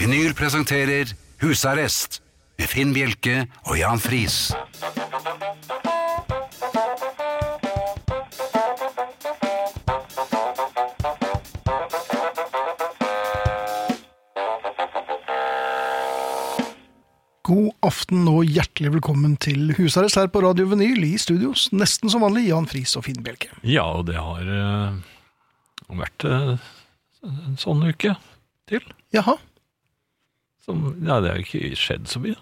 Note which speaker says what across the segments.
Speaker 1: Vinyl presenterer Husarrest med Finn Bjelke og Jan Friis.
Speaker 2: God aften og hjertelig velkommen til husarrest her på Radio Vinyl i studios. Nesten som vanlig Jan Friis og Finn Bjelke.
Speaker 3: Ja, og det har eh, vært eh, en sånn uke til.
Speaker 2: Jaha.
Speaker 3: Som, ja, det har ikke skjedd så mye.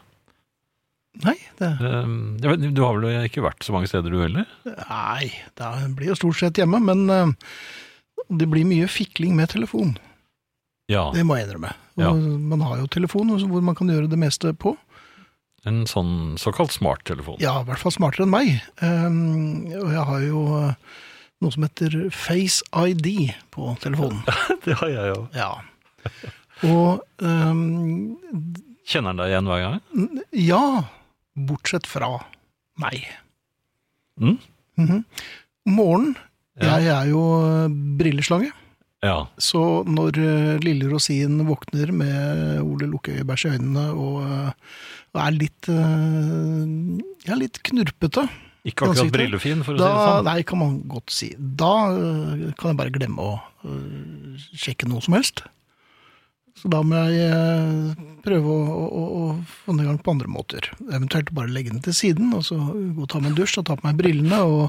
Speaker 2: Nei, det,
Speaker 3: Eh, jeg vet, du har vel ikke vært så mange steder du heller?
Speaker 2: nei, det blir jo stort sett hjemme, men eh, det blir mye fikling med telefon.
Speaker 3: Ja,
Speaker 2: Det må jeg innrømme. Og
Speaker 3: Ja.
Speaker 2: Man har jo telefon hvor man kan gjøre det meste på.
Speaker 3: en sånn såkalt smarttelefon.
Speaker 2: Ja, i hvert fall smartere enn meg. Eh, og jeg har jo eh, noe som heter Face ID på telefonen.
Speaker 3: Det har jeg jo.
Speaker 2: Ja. Og eh,
Speaker 3: Kjenner han deg igjen hver gang?
Speaker 2: Ja, bortsett fra meg.
Speaker 3: Mm?
Speaker 2: Mhm. Morgen,
Speaker 3: Ja.
Speaker 2: jeg er jo eh, brilleslange,
Speaker 3: Ja.
Speaker 2: så når eh, lille Rosin våkner med Ole Lukkøyebæsj i øynene og, eh, og er litt eh, ja, litt knurpete,
Speaker 3: Ikke akkurat
Speaker 2: Ansiktet?
Speaker 3: brillefin, for å
Speaker 2: da,
Speaker 3: si det sånn.
Speaker 2: nei, kan man godt si, da eh, kan jeg bare glemme å eh, sjekke noe som helst. Så da må jeg eh, prøve å, å, å, å få den i gang på andre måter. Eventuelt bare legge den til siden, og så gå og ta meg en dusj, og ta på meg brillene, og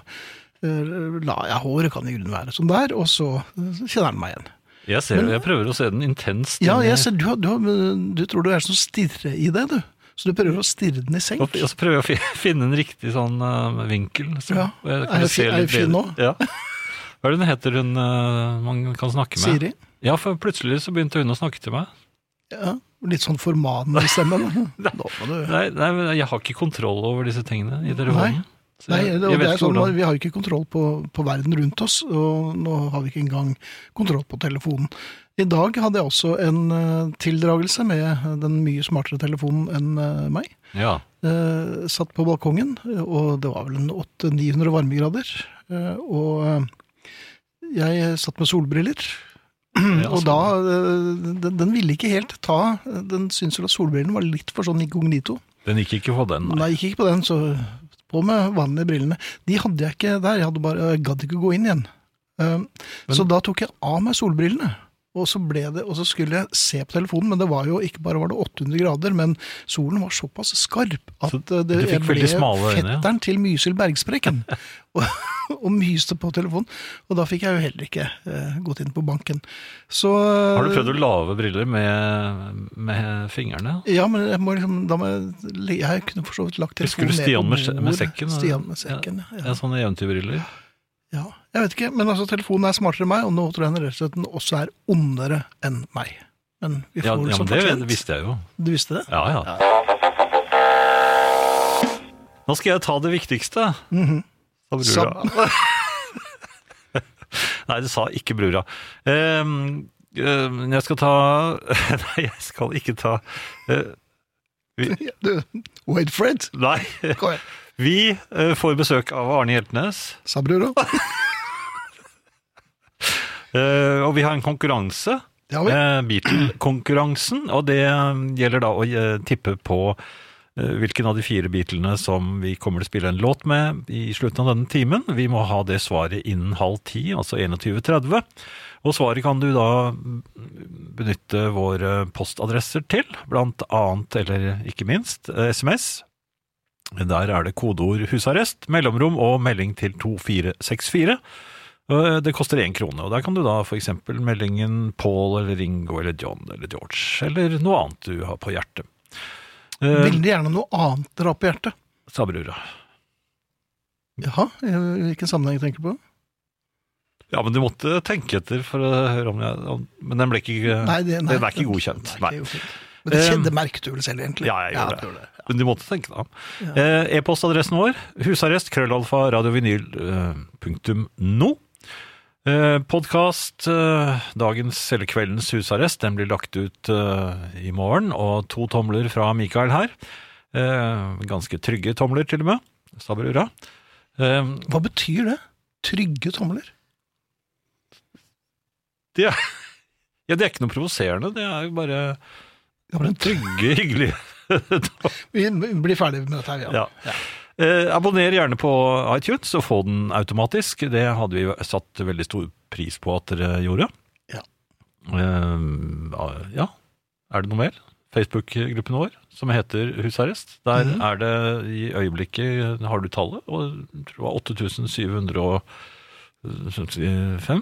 Speaker 2: eh, la jeg håret kan i grunnen være som det er, og så eh, så kjenner den meg igjen.
Speaker 3: Jeg, ser, jeg prøver å se den intenst.
Speaker 2: Ja,
Speaker 3: inn i-
Speaker 2: jeg ser, du, har- du, har- du tror du er sånn stirre i det, du. Så du prøver å stirre den i senk.
Speaker 3: og, og så prøver jeg å fi- finne en riktig sånn eh, vinkel. Så,
Speaker 2: Ja.
Speaker 3: og jeg
Speaker 2: Er
Speaker 3: kan
Speaker 2: jeg
Speaker 3: se
Speaker 2: fi- er jeg
Speaker 3: litt
Speaker 2: fin
Speaker 3: bedre. Ja. Hva er det hun heter hun eh, man kan snakke med?
Speaker 2: Siri.
Speaker 3: Ja, for plutselig så begynte hun å snakke til meg.
Speaker 2: Ja, litt sånn formanende stemme. da. Nå må du
Speaker 3: Nei, nei men jeg har ikke kontroll over disse tingene i telefonen. Så
Speaker 2: Nei,
Speaker 3: jeg,
Speaker 2: det, og
Speaker 3: jeg
Speaker 2: det
Speaker 3: vet
Speaker 2: er
Speaker 3: ikke
Speaker 2: sånn,
Speaker 3: hvordan.
Speaker 2: Vi har jo ikke kontroll på, på verden rundt oss, og nå har vi ikke engang kontroll på telefonen. I dag hadde jeg også en eh, tildragelse med den mye smartere telefonen enn eh, meg.
Speaker 3: Ja,
Speaker 2: Eh, satt på balkongen, og det var vel en 800-900 varmegrader. Eh, og eh, jeg satt med solbriller,
Speaker 3: Ja, sånn.
Speaker 2: og da eh, den, den ville ikke helt ta Den syntes vel at solbrillene var litt for sånn inkognito.
Speaker 3: Den gikk ikke på den,
Speaker 2: Nei,
Speaker 3: nei.
Speaker 2: jeg gikk ikke på den, så på med vanlige brillene. De hadde jeg ikke der, jeg hadde bare, jeg gadd ikke gå inn igjen. Um, så da tok jeg av meg solbrillene, og så, ble det, og så skulle jeg se på telefonen, men det var jo ikke bare var det 800 grader, men solen var såpass skarp at
Speaker 3: Så
Speaker 2: uh, det,
Speaker 3: du fikk
Speaker 2: jeg ble
Speaker 3: veldig smale øyne, ja.
Speaker 2: fetteren til Mysil Bergsprekken, og, og myste på telefonen. Og da fikk jeg jo heller ikke eh, gått inn på banken. Så,
Speaker 3: Har du prøvd å lage briller med, med fingrene?
Speaker 2: Ja, men jeg må liksom da må jeg, le- jeg kunne for så vidt lagt
Speaker 3: Husker du
Speaker 2: telefonen
Speaker 3: Stian med,
Speaker 2: ned
Speaker 3: se-
Speaker 2: på
Speaker 3: med
Speaker 2: bordet.
Speaker 3: sekken?
Speaker 2: Stian med sekken,
Speaker 3: ja.
Speaker 2: ja.
Speaker 3: ja. Sånne eventyrbriller.
Speaker 2: ja. Jeg vet ikke, men altså telefonen er smartere enn meg, og nå tror jeg den rett og slett også er ondere enn meg. Men vi får
Speaker 3: Ja,
Speaker 2: vel
Speaker 3: ja,
Speaker 2: som
Speaker 3: men det
Speaker 2: fortjent.
Speaker 3: visste jeg jo.
Speaker 2: Du visste det?
Speaker 3: Ja, ja. Nå skal jeg ta det viktigste. Sa brura. Nei, det sa ikke brura. Ehm, ehm, jeg skal ta Nei, jeg skal ikke ta eh,
Speaker 2: Ja, Du, wait for it!
Speaker 3: Nei.
Speaker 2: Kom igjen,
Speaker 3: Vi eh, får besøk av Arne Hjeltnes,
Speaker 2: sa brura.
Speaker 3: eh, og vi har en konkurranse.
Speaker 2: Det har vi.
Speaker 3: Eh, Beatle-konkurransen, og det eh, gjelder da å eh, tippe på eh, hvilken av de fire Beatlene som vi kommer til å spille en låt med i slutten av denne timen. Vi må ha det svaret innen halv ti, altså 21.30. Og svaret kan du da mm, benytte våre postadresser til, blant annet, eller ikke minst, eh, SMS. Der er det kodeord 'husarrest', mellomrom og melding til 2464. Og Eh, Det koster én krone, og der kan du da for eksempel meldingen Paul eller Ringo eller John eller George, eller noe annet du har på hjertet. Eh,
Speaker 2: Veldig gjerne noe annet dere har på hjertet.
Speaker 3: sa brura.
Speaker 2: eh, Jaha, i hvilken sammenheng tenker du på?
Speaker 3: Ja, men du måtte tenke etter for å høre om jeg om, Men den ble ikke,
Speaker 2: Nei, det, nei,
Speaker 3: den er ikke godkjent.
Speaker 2: den er
Speaker 3: Nei.
Speaker 2: ikke godkjent. Men det
Speaker 3: Um,
Speaker 2: kjente merket du vel selv, egentlig?
Speaker 3: Ja, jeg gjorde
Speaker 2: du
Speaker 3: det. Men du måtte tenke deg om. Eh, E-postadressen vår husarrest krøllalfa radiovinyl eh, punktum no. Eh, Podkast eh, dagens eller kveldens husarrest den blir lagt ut eh, i morgen. Og to tomler fra Mikael her. Eh, ganske trygge tomler, til og med. Stabber hurra. Eh,
Speaker 2: Hva betyr det? Trygge tomler?
Speaker 3: det, er- ja, det er ikke noe provoserende. Det er jo bare
Speaker 2: Ja, men
Speaker 3: trygge, hyggelige
Speaker 2: Vi blir ferdig med dette her, ja.
Speaker 3: Ja. Eh, abonner gjerne på iTunes og få den automatisk. Det hadde vi satt veldig stor pris på at dere gjorde.
Speaker 2: Ja.
Speaker 3: Eh, ja. Er det noe mer? Facebook-gruppen vår, som heter Husarrest. Der
Speaker 2: Mhm.
Speaker 3: er det i øyeblikket, har du tallet, og jeg tror det var 8775. eh,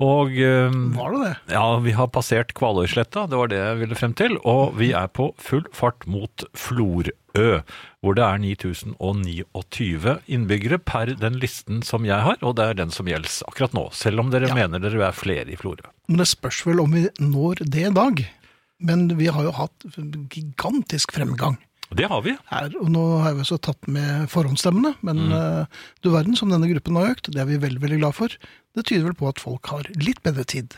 Speaker 3: Og eh,
Speaker 2: Var det det?
Speaker 3: ja, vi har passert Kvaløysletta, det var det jeg ville frem til. Og vi er på full fart mot Florø, hvor det er 9029 innbyggere per den listen som jeg har, og det er den som gjelder akkurat nå. Selv om dere
Speaker 2: Ja.
Speaker 3: mener dere er flere i Florø.
Speaker 2: Men det spørs vel om vi når det i dag. Men vi har jo hatt gigantisk fremgang
Speaker 3: Det har vi.
Speaker 2: her. Og nå har vi også tatt med forhåndsstemmene. Men eh, du verden som denne gruppen har økt, det er vi veldig, veldig glad for. Det tyder vel på at folk har litt bedre tid,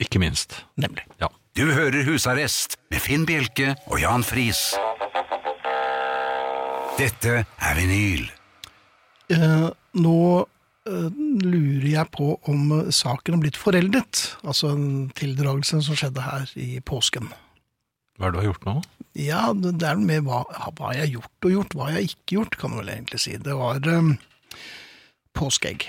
Speaker 3: Ikke minst.
Speaker 2: nemlig.
Speaker 1: Du hører Husarrest med Finn Bjelke og Jan Friis. Dette er vinyl.
Speaker 2: Eh, nå eh, lurer jeg på om eh, saken har blitt foreldet. Altså en tildragelse som skjedde her i påsken.
Speaker 3: Hva er det du har gjort nå?
Speaker 2: Ja, det det er noe med hva, hva jeg har gjort og gjort, hva jeg har ikke gjort, kan du vel egentlig si. Det var eh, påskeegg.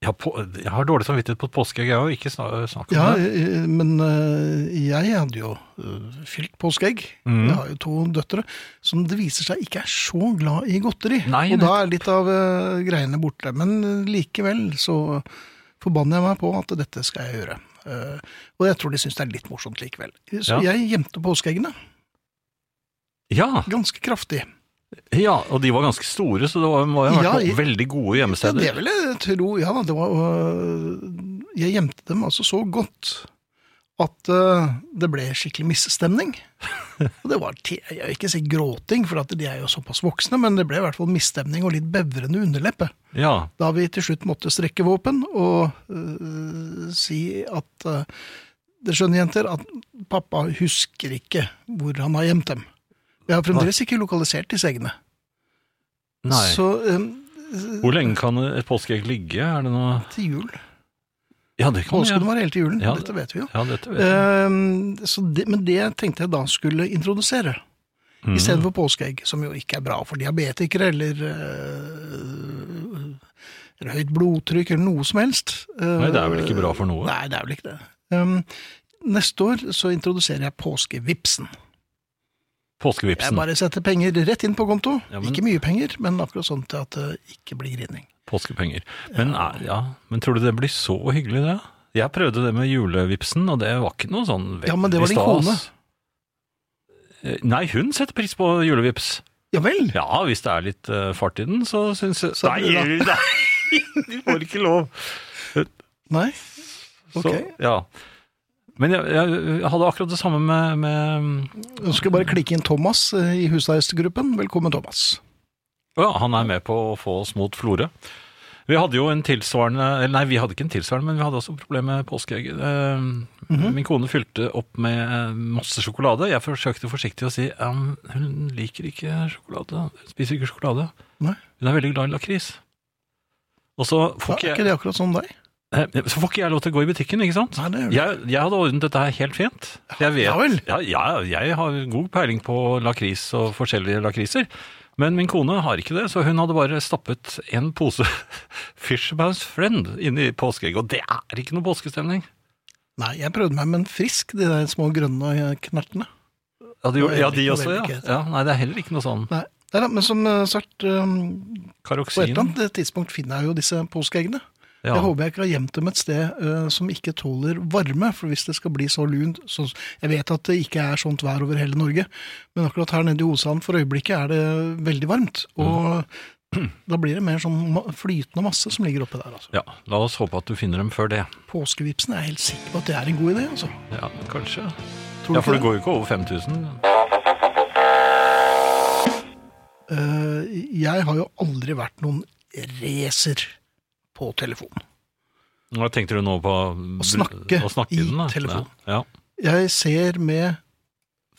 Speaker 3: Jeg har, på, jeg har dårlig samvittighet på et påskeegg, jeg har jo ikke sna- snakk om
Speaker 2: Ja,
Speaker 3: det.
Speaker 2: eh, men eh, jeg hadde jo eh, fylt påskeegg.
Speaker 3: Mhm.
Speaker 2: Jeg har jo to døtre som det viser seg ikke er så glad i godteri.
Speaker 3: Nei,
Speaker 2: og da er litt av eh, greiene borte. Men eh, likevel så forbanner jeg meg på at dette skal jeg gjøre. Eh, og jeg tror de syns det er litt morsomt likevel. Så
Speaker 3: Ja.
Speaker 2: jeg gjemte påskeeggene
Speaker 3: Ja,
Speaker 2: ganske kraftig.
Speaker 3: ja, og de var ganske store, så det var, må jo ha vært
Speaker 2: Ja,
Speaker 3: noen
Speaker 2: jeg-
Speaker 3: veldig gode
Speaker 2: Ja,
Speaker 3: gjemmesteder.
Speaker 2: det vil jeg tro. Ja, da, det var, øh, jeg gjemte dem altså så godt at øh, det ble skikkelig misstemning. Og det var, te- jeg vil ikke si gråting, for at de er jo såpass voksne, men det ble i hvert fall misstemning og litt bevrende underleppe.
Speaker 3: ja.
Speaker 2: Da vi til slutt måtte strekke våpen og øh, si at øh, det skjønner jenter, at pappa husker ikke hvor han har gjemt dem. Jeg har fremdeles ikke lokalisert disse eggene.
Speaker 3: Nei.
Speaker 2: Så øh,
Speaker 3: Hvor lenge kan et påskeegg ligge? Er det noe
Speaker 2: til jul
Speaker 3: Ja, det kan
Speaker 2: Påsken
Speaker 3: jeg.
Speaker 2: var hele til julen,
Speaker 3: Ja.
Speaker 2: dette vet vi jo.
Speaker 3: Ja, dette vet jeg.
Speaker 2: Ehm, så det, men det tenkte jeg da skulle introdusere,
Speaker 3: Mm.
Speaker 2: istedenfor påskeegg, som jo ikke er bra for diabetikere eller, eh, eller høyt blodtrykk eller noe som helst. Eh,
Speaker 3: Nei, det er vel ikke bra for noe?
Speaker 2: Nei, det er vel ikke det. Ehm, neste år så introduserer jeg påskevipsen. Jeg
Speaker 3: Påskevipsen.
Speaker 2: bare setter penger rett inn på konto.
Speaker 3: Ja, men-
Speaker 2: Ikke mye penger, men akkurat sånn til at det ikke blir grining.
Speaker 3: Påskepenger. Men, er- ja. Men tror du det blir så hyggelig, det? Jeg prøvde det med julevipsen, og det var ikke noe sånn veldig
Speaker 2: Ja, men det var din
Speaker 3: stas. Eh, Nei, hun setter pris på julevips.
Speaker 2: Ja vel!
Speaker 3: Ja, hvis det er litt eh, fart i den, så syns jeg
Speaker 2: Så-
Speaker 3: Nei, nei, du får ikke lov!
Speaker 2: Nei?
Speaker 3: Så,
Speaker 2: Ok.
Speaker 3: ja. Men jeg, jeg, jeg hadde akkurat det samme med, med
Speaker 2: Nå skal jeg bare klikke inn Thomas eh, i husarrestgruppen. Velkommen, Thomas.
Speaker 3: Å Ja, han er med på å få oss mot Florø. Vi hadde jo en tilsvarende eller Nei, vi hadde ikke en tilsvarende, men vi hadde også problemer med påskeegget. Eh,
Speaker 2: Mhm.
Speaker 3: Min kone fylte opp med eh, masse sjokolade. Jeg forsøkte forsiktig å si um, hun liker ikke sjokolade. Hun Spiser ikke sjokolade.
Speaker 2: Nei.
Speaker 3: Hun er veldig glad i lakris. Og så får,
Speaker 2: Ja,
Speaker 3: ikke
Speaker 2: er
Speaker 3: jeg,
Speaker 2: ikke det akkurat som deg?
Speaker 3: eh, så får ikke jeg lov til å gå i butikken, ikke sant?
Speaker 2: Nei, det er jo
Speaker 3: Jeg, jeg hadde ordnet dette her helt fint. Jeg vet,
Speaker 2: Ja vel.
Speaker 3: Ja, ja, jeg har god peiling på lakris og forskjellige lakriser. Men min kone har ikke det, så hun hadde bare stappet en pose Fisherman's Friend inn i påskeegget. Og det er ikke noe påskestemning.
Speaker 2: Nei, jeg prøvde meg med en frisk, de der små grønne eh, knertene.
Speaker 3: Ja, de,
Speaker 2: Og
Speaker 3: ja, de
Speaker 2: Henrik
Speaker 3: også, ja.
Speaker 2: og Henrik.
Speaker 3: ja. Nei, det er heller ikke noe sånn
Speaker 2: Nei. Nei da, men som eh, sagt, um, på et eller
Speaker 3: karoksin.
Speaker 2: annet tidspunkt finner jeg jo disse påskeeggene.
Speaker 3: Ja.
Speaker 2: Jeg håper jeg ikke har gjemt dem et sted eh, som ikke tåler varme, for hvis det skal bli så lunt så, Jeg vet at det ikke er sånt vær over hele Norge, men akkurat her nede i Osan for øyeblikket er det veldig varmt. Og Da blir det mer sånn ma- flytende masse som ligger oppi der. altså.
Speaker 3: Ja, La oss håpe at du finner dem før det.
Speaker 2: Påskevipsen er jeg helt sikker på at det er en god idé. altså.
Speaker 3: Ja, Kanskje.
Speaker 2: Tror du
Speaker 3: Ja, For det
Speaker 2: ikke det?
Speaker 3: går jo ikke over 5000.
Speaker 2: Eh, jeg har jo aldri vært noen racer på telefon.
Speaker 3: Hva tenkte du nå på?
Speaker 2: Å snakke
Speaker 3: å snakke
Speaker 2: i
Speaker 3: den, da?
Speaker 2: telefon.
Speaker 3: Ja.
Speaker 2: Jeg ser med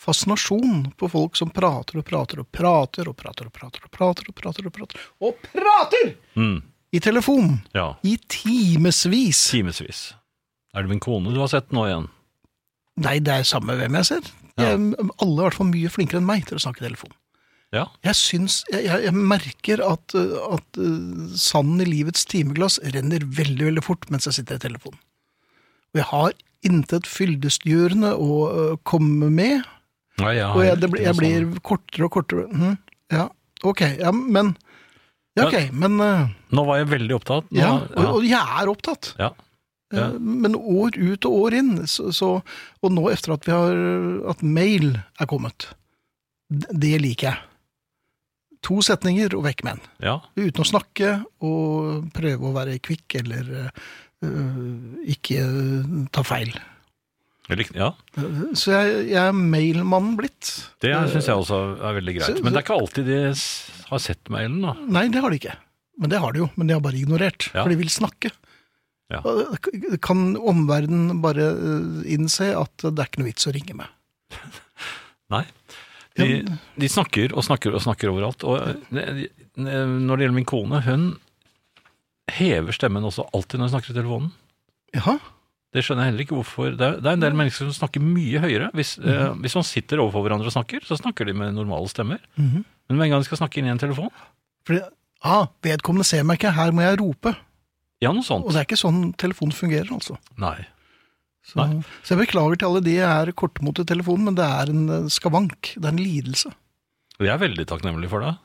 Speaker 2: fascinasjon på folk som prater og prater og prater og prater og prater og prater og prater og prater og prater
Speaker 3: Ja. Mm,
Speaker 2: i telefon
Speaker 3: ja.
Speaker 2: i timevis.
Speaker 3: Timevis. Er det min kone du har sett nå igjen?
Speaker 2: Nei, det er samme hvem jeg ser.
Speaker 3: Ja.
Speaker 2: Jeg, alle er i hvert fall mye flinkere enn meg til å snakke i telefon.
Speaker 3: Ja.
Speaker 2: Jeg syns Jeg, jeg, jeg merker at, uh, at uh, sanden i livets timeglass renner veldig, veldig fort mens jeg sitter i telefonen. Og jeg har intet fyldestgjørende å uh, komme med,
Speaker 3: Nei, jeg, har
Speaker 2: og jeg, det,
Speaker 3: ikke
Speaker 2: blir- jeg
Speaker 3: noe
Speaker 2: blir
Speaker 3: sånn.
Speaker 2: kortere og kortere Mhm, Ja, ok, ja, men Ja, ok, men uh,
Speaker 3: Nå var jeg veldig opptatt. Nå,
Speaker 2: Ja, og, og jeg er opptatt.
Speaker 3: ja. Ja.
Speaker 2: Eh, Men år ut og år inn, så, så, og nå etter at, vi har, at mail er kommet, d- det liker jeg. To setninger og vekk med en.
Speaker 3: ja.
Speaker 2: Uten å snakke og prøve å være kvikk eller eh, ikke eh, ta feil.
Speaker 3: Jeg likte- ja.
Speaker 2: Eh, Så jeg, jeg er mailmannen blitt.
Speaker 3: Det
Speaker 2: Eh,
Speaker 3: syns jeg også er veldig greit.
Speaker 2: så-
Speaker 3: Men det er ikke alltid de s- har sett mailen, da.
Speaker 2: Nei, det har de ikke. Men det har de jo, men de har bare ignorert,
Speaker 3: Ja.
Speaker 2: for de vil snakke.
Speaker 3: Ja.
Speaker 2: Og, eh, Kan omverdenen bare eh, innse at det er ikke noe vits å ringe meg?
Speaker 3: Nei. De, de snakker og snakker og snakker overalt. Og eh, når det gjelder min kone, hun hever stemmen også alltid når hun snakker i telefonen.
Speaker 2: Jaha?
Speaker 3: Det skjønner jeg heller ikke hvorfor. Det er, det er en del mennesker som snakker mye høyere. Hvis,
Speaker 2: Mhm.
Speaker 3: eh, hvis man sitter overfor hverandre og snakker, så snakker de med normale stemmer.
Speaker 2: Mhm.
Speaker 3: Men med en gang de skal snakke inn i en telefon,
Speaker 2: Fordi, ah, vedkommende ser meg ikke, her må jeg rope.
Speaker 3: ja, noe sånt.
Speaker 2: Og det er ikke sånn telefonen fungerer, altså.
Speaker 3: Nei.
Speaker 2: Så, så jeg beklager til alle de jeg er kortmot i telefonen, men det er en eh, skavank. Det er en lidelse.
Speaker 3: Og jeg er veldig takknemlig for det.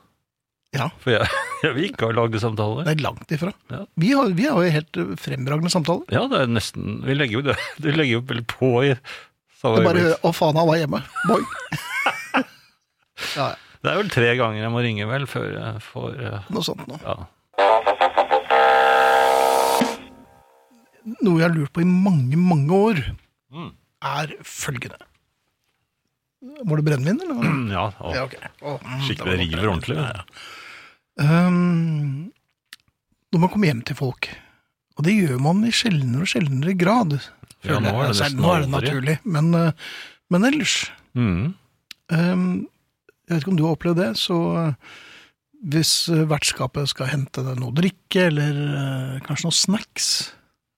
Speaker 2: Ja.
Speaker 3: For jeg, jeg vil ikke ha lagdesamtaler.
Speaker 2: Det er langt ifra.
Speaker 3: Ja.
Speaker 2: Vi, har, vi har jo helt eh, fremragende samtaler.
Speaker 3: Ja, det er nesten Vi legger jo det Vi legger jo vel på i samme
Speaker 2: Jeg bare hører
Speaker 3: øyeblikk.
Speaker 2: 'Å, faen, han var hjemme'. Boy. ja, ja,
Speaker 3: Det er vel tre ganger jeg må ringe, vel, før jeg får eh,
Speaker 2: noe sånt noe.
Speaker 3: Ja.
Speaker 2: Noe jeg har lurt på i mange, mange år,
Speaker 3: Mm.
Speaker 2: er følgende. Var det brennevin, eller? hva?
Speaker 3: ja og
Speaker 2: Ja, ok. Å, mm, det var
Speaker 3: skikkelig
Speaker 2: godt.
Speaker 3: river ordentlig.
Speaker 2: Ehm, når man kommer hjem til folk, og det gjør man i sjeldnere og sjeldnere grad
Speaker 3: Ja,
Speaker 2: føler jeg.
Speaker 3: nå er det
Speaker 2: Altså,
Speaker 3: nesten
Speaker 2: nå er det
Speaker 3: aldri.
Speaker 2: naturlig, men, eh, men ellers
Speaker 3: Mm.
Speaker 2: ehm, Jeg vet ikke om du har opplevd det, så eh, hvis eh, vertskapet skal hente deg noe å drikke, eller eh, kanskje noen snacks,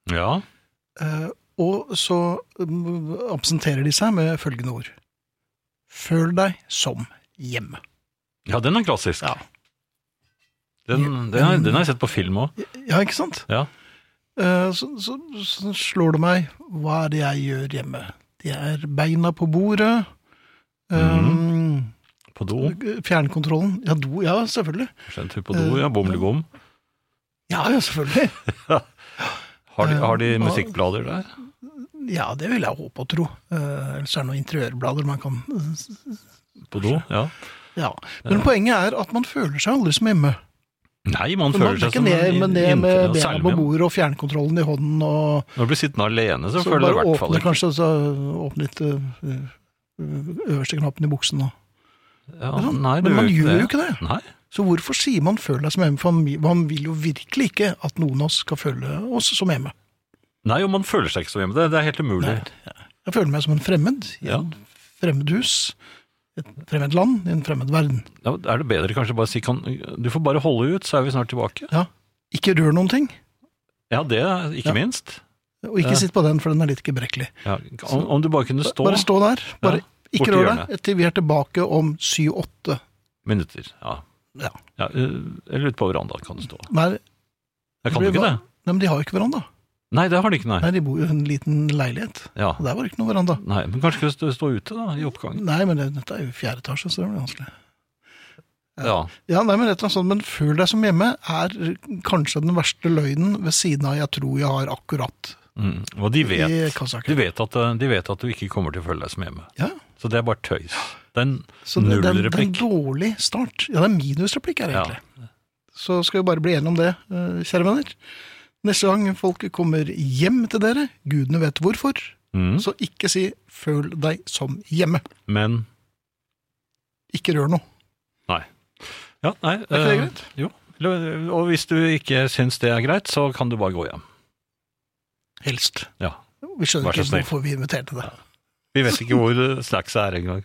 Speaker 3: Ja.
Speaker 2: eh, og så mm, absenterer de seg med følgende ord Føl deg som hjemme.
Speaker 3: ja, den er klassisk.
Speaker 2: Ja.
Speaker 3: Den, den, har, den har jeg sett på film òg.
Speaker 2: Ja, ikke sant?
Speaker 3: Ja.
Speaker 2: Eh, så, så, så slår det meg hva er det jeg gjør hjemme. Det er beina på bordet.
Speaker 3: Mhm.
Speaker 2: eh,
Speaker 3: På do.
Speaker 2: fjernkontrollen. Ja, do. Ja, selvfølgelig.
Speaker 3: Kanskje en tur på do, ja. Bomlegom.
Speaker 2: Ja, ja, selvfølgelig.
Speaker 3: Har, de- har de
Speaker 2: Eh,
Speaker 3: musikkblader der?
Speaker 2: Ja, det vil jeg håpe og tro. Eh, ellers er det noen interiørblader man kan eh,
Speaker 3: På do? Ja.
Speaker 2: Ja. Men poenget er at man føler seg aldri som hjemme.
Speaker 3: Nei, man
Speaker 2: Man
Speaker 3: føler
Speaker 2: er
Speaker 3: seg
Speaker 2: ikke
Speaker 3: som
Speaker 2: ned
Speaker 3: en
Speaker 2: med, ned
Speaker 3: inn-
Speaker 2: med
Speaker 3: ja,
Speaker 2: beina på
Speaker 3: særlig.
Speaker 2: bordet og fjernkontrollen i hånden og
Speaker 3: Når du blir sittende alene, så,
Speaker 2: Så
Speaker 3: føler du i
Speaker 2: bare
Speaker 3: hvert fall
Speaker 2: åpne
Speaker 3: ikke
Speaker 2: kanskje, så åpne litt eh, øverste knappen i buksen og
Speaker 3: ja,
Speaker 2: Ja,
Speaker 3: Nei, du
Speaker 2: men man
Speaker 3: ikke
Speaker 2: gjør
Speaker 3: det.
Speaker 2: jo ikke det.
Speaker 3: Nei.
Speaker 2: Så hvorfor sier man 'føl deg som hjemme'? For man- man vil jo virkelig ikke at noen av oss skal føle oss som hjemme.
Speaker 3: Nei, og man føler seg ikke så hjemme. Det, det er helt umulig.
Speaker 2: Nei. Jeg føler meg som en fremmed i
Speaker 3: Ja.
Speaker 2: et fremmed hus, i et fremmed land, i en fremmed verden.
Speaker 3: Ja, er det bedre kanskje bare å si kan, Du får bare holde ut, så er vi snart tilbake.
Speaker 2: Ja. Ikke rør noen ting,
Speaker 3: Ja, det er ikke
Speaker 2: Ja.
Speaker 3: minst.
Speaker 2: og ikke sitt på den, for den er litt gebrekkelig.
Speaker 3: Ja, om, om du bare kunne stå
Speaker 2: Bare stå der, bare
Speaker 3: Ja,
Speaker 2: ikke
Speaker 3: borti
Speaker 2: rør
Speaker 3: hjørnet.
Speaker 2: deg, til vi er tilbake om syv-åtte.
Speaker 3: minutter Ja.
Speaker 2: Ja.
Speaker 3: Ja, eh, eller ute på verandaen kan du stå.
Speaker 2: Nei,
Speaker 3: Jeg kan jo ikke det.
Speaker 2: Nei, men de har jo ikke veranda.
Speaker 3: Nei, det har de ikke, nei.
Speaker 2: Nei, de bor jo i en liten leilighet.
Speaker 3: Ja.
Speaker 2: Og der var det ikke noe veranda.
Speaker 3: nei. Men kanskje kunne du stå- stå ute, da, i oppgangen.
Speaker 2: Nei, men det, dette er jo fjerde etasje, så det blir vanskelig.
Speaker 3: Ja.
Speaker 2: Ja, nei, men rett og slett sånn, men føl deg som hjemme er kanskje den verste løgnen ved siden av 'jeg tror jeg har akkurat'
Speaker 3: Mm. Og de
Speaker 2: i
Speaker 3: vet, de,
Speaker 2: kassaken.
Speaker 3: vet at, eh, de vet at du ikke kommer til å føle deg som hjemme.
Speaker 2: Ja,
Speaker 3: Så det er bare tøys. Det er en
Speaker 2: så det, det, er- det er en
Speaker 3: nullreplikk.
Speaker 2: dårlig start. Ja, det er minusreplikk her,
Speaker 3: Ja.
Speaker 2: egentlig. Så skal vi bare bli enige om det, eh, kjære venner. Neste gang folk kommer hjem til dere, gudene vet hvorfor,
Speaker 3: Mm.
Speaker 2: så ikke si 'føl deg som hjemme'.
Speaker 3: Men
Speaker 2: Ikke rør noe.
Speaker 3: ja, nei.
Speaker 2: Er ikke det
Speaker 3: eh,
Speaker 2: greit?
Speaker 3: jo. Eller, Og hvis du ikke syns det er greit, så kan du bare gå hjem.
Speaker 2: Helst.
Speaker 3: Ja.
Speaker 2: Vi skjønner
Speaker 3: Vær så
Speaker 2: ikke
Speaker 3: snill.
Speaker 2: hvorfor vi inviterte deg.
Speaker 3: Vi vet ikke hvor eh, snackset er engang.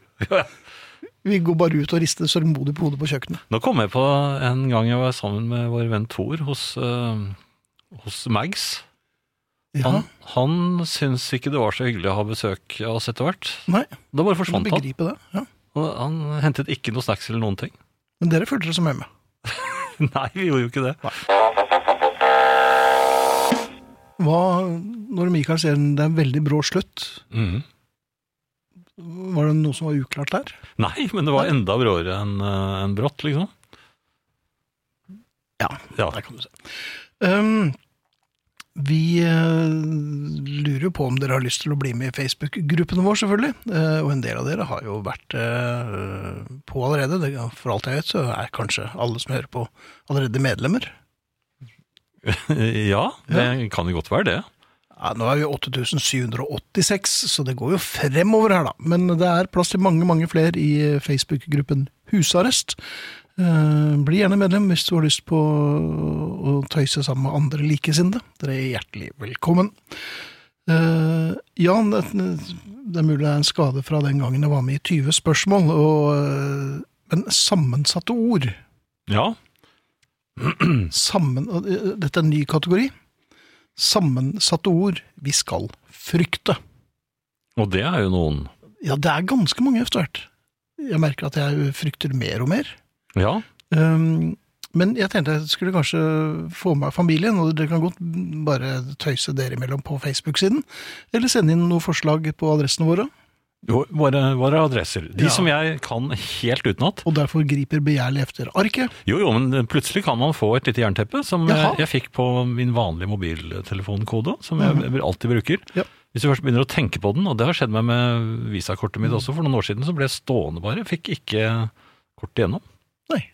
Speaker 2: Vi går bare ut og rister sørgmodig på hodet på kjøkkenet.
Speaker 3: Nå kom jeg på en gang jeg var sammen med vår venn Thor hos, eh, hos Mags.
Speaker 2: Ja,
Speaker 3: Han, han syntes ikke det var så hyggelig å ha besøk av oss etter hvert.
Speaker 2: Nei,
Speaker 3: Da bare
Speaker 2: jeg
Speaker 3: forsvant han.
Speaker 2: begriper det. Ja.
Speaker 3: Og han hentet ikke noe snacks eller noen ting.
Speaker 2: Men dere følte dere som hjemme.
Speaker 3: Nei, vi gjorde jo ikke det.
Speaker 2: Hva, når Mikael sier det er en veldig brå slutt,
Speaker 3: Mhm.
Speaker 2: var det noe som var uklart der?
Speaker 3: Nei, men det var enda bråere enn eh, enn brått, liksom.
Speaker 2: Ja,
Speaker 3: Ja.
Speaker 2: der kan du se. Um, vi eh, lurer jo på om dere har lyst til å bli med i Facebook-gruppen vår, selvfølgelig. Eh, og en del av dere har jo vært eh, på allerede. Det, for alt jeg vet, så er kanskje alle som hører på, allerede medlemmer.
Speaker 3: ja, det kan jo godt være det.
Speaker 2: Ja, nå er vi 8786, så det går jo fremover her, da. Men det er plass til mange, mange flere i eh, Facebook-gruppen Husarrest. Eh, Bli gjerne medlem hvis du har lyst på å tøyse sammen med andre likesinnede. Dere er hjertelig velkommen. Eh, Jan, det det er mulig det er en skade fra den gangen jeg var med i 20 spørsmål, og, eh, men sammensatte ord
Speaker 3: Ja,
Speaker 2: sammen, og, eh, Dette er en ny kategori. Sammensatte ord vi skal frykte.
Speaker 3: og det er jo noen.
Speaker 2: Ja, det er ganske mange etter hvert. Jeg merker at jeg frykter mer og mer.
Speaker 3: Ja,
Speaker 2: Um, men jeg tenkte jeg skulle kanskje få med familien, og dere kan godt bare tøyse dere imellom på Facebook-siden. Eller sende inn noen forslag på adressene våre.
Speaker 3: jo, våre, våre adresser. De
Speaker 2: Ja.
Speaker 3: som jeg kan helt utenat.
Speaker 2: Og derfor griper begjærlig efter arket.
Speaker 3: Jo, jo, men plutselig kan man få et lite jernteppe, som jeg,
Speaker 2: Jaha.
Speaker 3: jeg fikk på min vanlige mobiltelefonkode, som jeg alltid bruker.
Speaker 2: Mhm. Ja.
Speaker 3: Hvis du først begynner å tenke på den, og det har skjedd meg med visakortet mitt også, for noen år siden så ble jeg stående bare, fikk ikke kortet igjennom.
Speaker 2: Nei.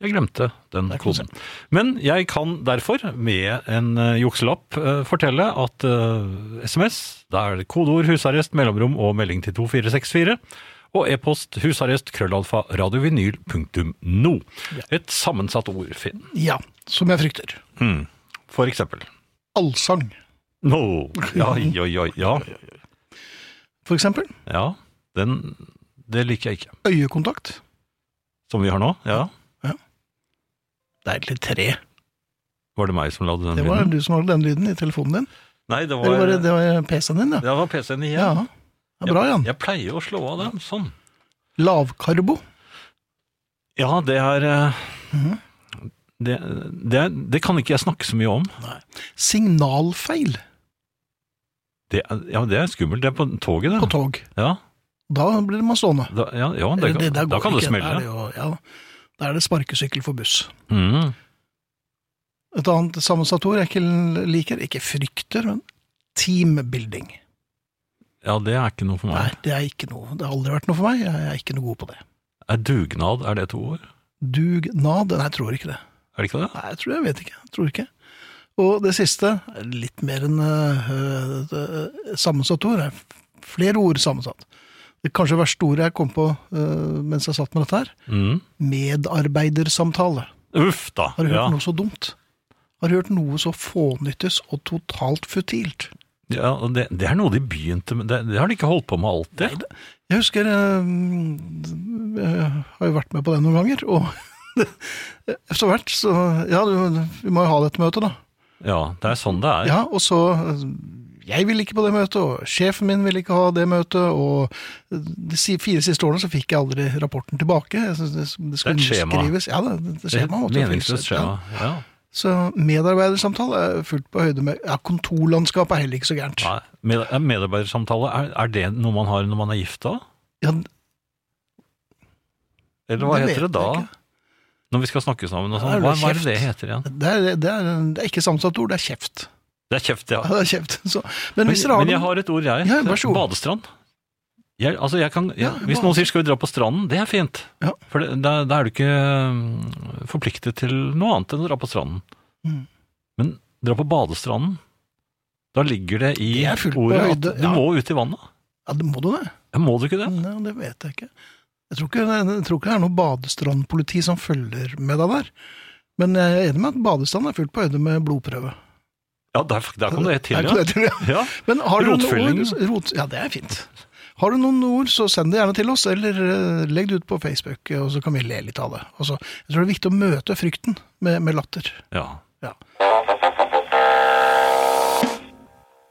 Speaker 3: Jeg glemte den
Speaker 2: Det er
Speaker 3: koden. Men jeg kan derfor, med en eh, jukselapp, eh, fortelle at eh, SMS, da er det kodeord husarrest, mellomrom og melding til 2464, og e-post husarrest krøllalfa radiovinyl.no. Et sammensatt ord, Finn.
Speaker 2: Ja, som jeg frykter.
Speaker 3: Mm. For eksempel.
Speaker 2: Allsang,
Speaker 3: No. Ja, ja, ja, ja.
Speaker 2: for eksempel.
Speaker 3: ja den, det liker jeg ikke.
Speaker 2: Øyekontakt.
Speaker 3: Som vi har nå, ja.
Speaker 2: Det er egentlig tre.
Speaker 3: Var det meg som lagde den
Speaker 2: Det var
Speaker 3: lyden?
Speaker 2: du som hadde den lyden i telefonen din.
Speaker 3: Nei, det
Speaker 2: Eller
Speaker 3: var,
Speaker 2: var det, det var PC-en din, ja.
Speaker 3: det var PC-en igjen.
Speaker 2: Ja, det er bra, Jan.
Speaker 3: Jeg pleier å slå av den, sånn.
Speaker 2: Lavkarbo.
Speaker 3: Ja, det er eh,
Speaker 2: Mhm.
Speaker 3: det, det, er- det kan ikke jeg snakke så mye om.
Speaker 2: Signalfeil
Speaker 3: Det, er- ja, det er skummelt. Det er på toget, det.
Speaker 2: på tog.
Speaker 3: Ja,
Speaker 2: Da blir man stående.
Speaker 3: da, ja, ja det,
Speaker 2: Eller
Speaker 3: kan,
Speaker 2: der
Speaker 3: da
Speaker 2: går
Speaker 3: kan
Speaker 2: ikke.
Speaker 3: det
Speaker 2: Da er
Speaker 3: smelle.
Speaker 2: det jo- ja, da er det sparkesykkel for buss.
Speaker 3: Mhm.
Speaker 2: Et annet sammensatt ord jeg ikke liker, ikke frykter, men teambuilding.
Speaker 3: Ja, det er ikke noe for
Speaker 2: Nei,
Speaker 3: meg.
Speaker 2: det er ikke noe. Det har aldri vært noe for meg. Jeg er ikke noe god på det.
Speaker 3: Er dugnad er det et ord?
Speaker 2: Dugnad? Nei, jeg tror ikke det.
Speaker 3: Er det ikke det?
Speaker 2: Nei, jeg tror jeg vet ikke. Jeg tror ikke. Og det siste, er litt mer enn øh, øh, sammensatt ord, er flere ord sammensatt. Det kanskje verste ordet jeg kom på øh, mens jeg satt med dette her,
Speaker 3: Mhm.
Speaker 2: medarbeidersamtale.
Speaker 3: Uff, da.
Speaker 2: Har du hørt
Speaker 3: ja.
Speaker 2: noe så dumt? Har du hørt noe så fånyttes og totalt futilt?
Speaker 3: Ja, og det, det er noe de begynte med. Det, det har de ikke holdt på med alltid.
Speaker 2: Jeg husker eh, Jeg har jo vært med på det noen ganger, og etter hvert så Ja, du, vi må jo ha dette møtet, da.
Speaker 3: Ja, det er sånn det er.
Speaker 2: Ja, og så Jeg ville ikke på det møtet, og sjefen min ville ikke ha det møtet, og de si- fire siste årene så fikk jeg aldri rapporten tilbake. Jeg synes det, det skulle
Speaker 3: Det er et skjema.
Speaker 2: underskrives. Ja, det, det, det
Speaker 3: det er
Speaker 2: skjema
Speaker 3: et
Speaker 2: måtte jo
Speaker 3: meningsløst
Speaker 2: fylles ut, ja.
Speaker 3: skjema. Ja.
Speaker 2: Så medarbeidersamtale er fullt på høyde med Ja, kontorlandskap er heller ikke så gærent.
Speaker 3: Nei, med- er Medarbeidersamtale, er, er det noe man har når man er gifta?
Speaker 2: Ja,
Speaker 3: Eller hva
Speaker 2: det
Speaker 3: heter
Speaker 2: vet
Speaker 3: det da?
Speaker 2: jeg ikke.
Speaker 3: Når vi skal snakke sammen og
Speaker 2: Ja,
Speaker 3: sånn.
Speaker 2: det er
Speaker 3: Hva, hva er
Speaker 2: kjeft.
Speaker 3: det det heter igjen?
Speaker 2: Det er, det er, det er ikke sammensatt ord, det er kjeft.
Speaker 3: Det er kjeft, ja.
Speaker 2: Ja, det er kjeft. Så, men,
Speaker 3: Men,
Speaker 2: hvis dere har
Speaker 3: men jeg
Speaker 2: noen-
Speaker 3: har et ord, jeg.
Speaker 2: Ja, vær så god.
Speaker 3: Badestrand. Jeg, altså jeg kan, ja,
Speaker 2: Ja,
Speaker 3: hvis
Speaker 2: hva-
Speaker 3: noen sier 'skal vi dra på stranden', det er fint.
Speaker 2: Ja.
Speaker 3: For det, da, da er du ikke mm, forpliktet til noe annet enn å dra på stranden.
Speaker 2: Mm.
Speaker 3: Men dra på badestranden, da ligger det i
Speaker 2: Det er fullt på
Speaker 3: ordet at
Speaker 2: høyde,
Speaker 3: du
Speaker 2: ja. Mm.
Speaker 3: må ut i vannet.
Speaker 2: Ja, det må du det.
Speaker 3: Ja, Må du ikke det?
Speaker 2: Nei, det vet jeg ikke. Jeg tror ikke, jeg tror ikke det er noe badestrandpoliti som følger med deg der. Men jeg er enig med at badestrand er fullt på høyde med blodprøve.
Speaker 3: Ja, der, der kom det til,
Speaker 2: Der kom
Speaker 3: ja.
Speaker 2: det til, ja.
Speaker 3: ja.
Speaker 2: Men har du noen
Speaker 3: Rotfylling.
Speaker 2: ord, rot, ja, det er fint. Har du noen ord, så send det gjerne til oss, eller eh, legg det ut på Facebook, eh, og så kan vi le litt av det. Altså, jeg tror det er viktig å møte frykten med, med latter.
Speaker 3: ja.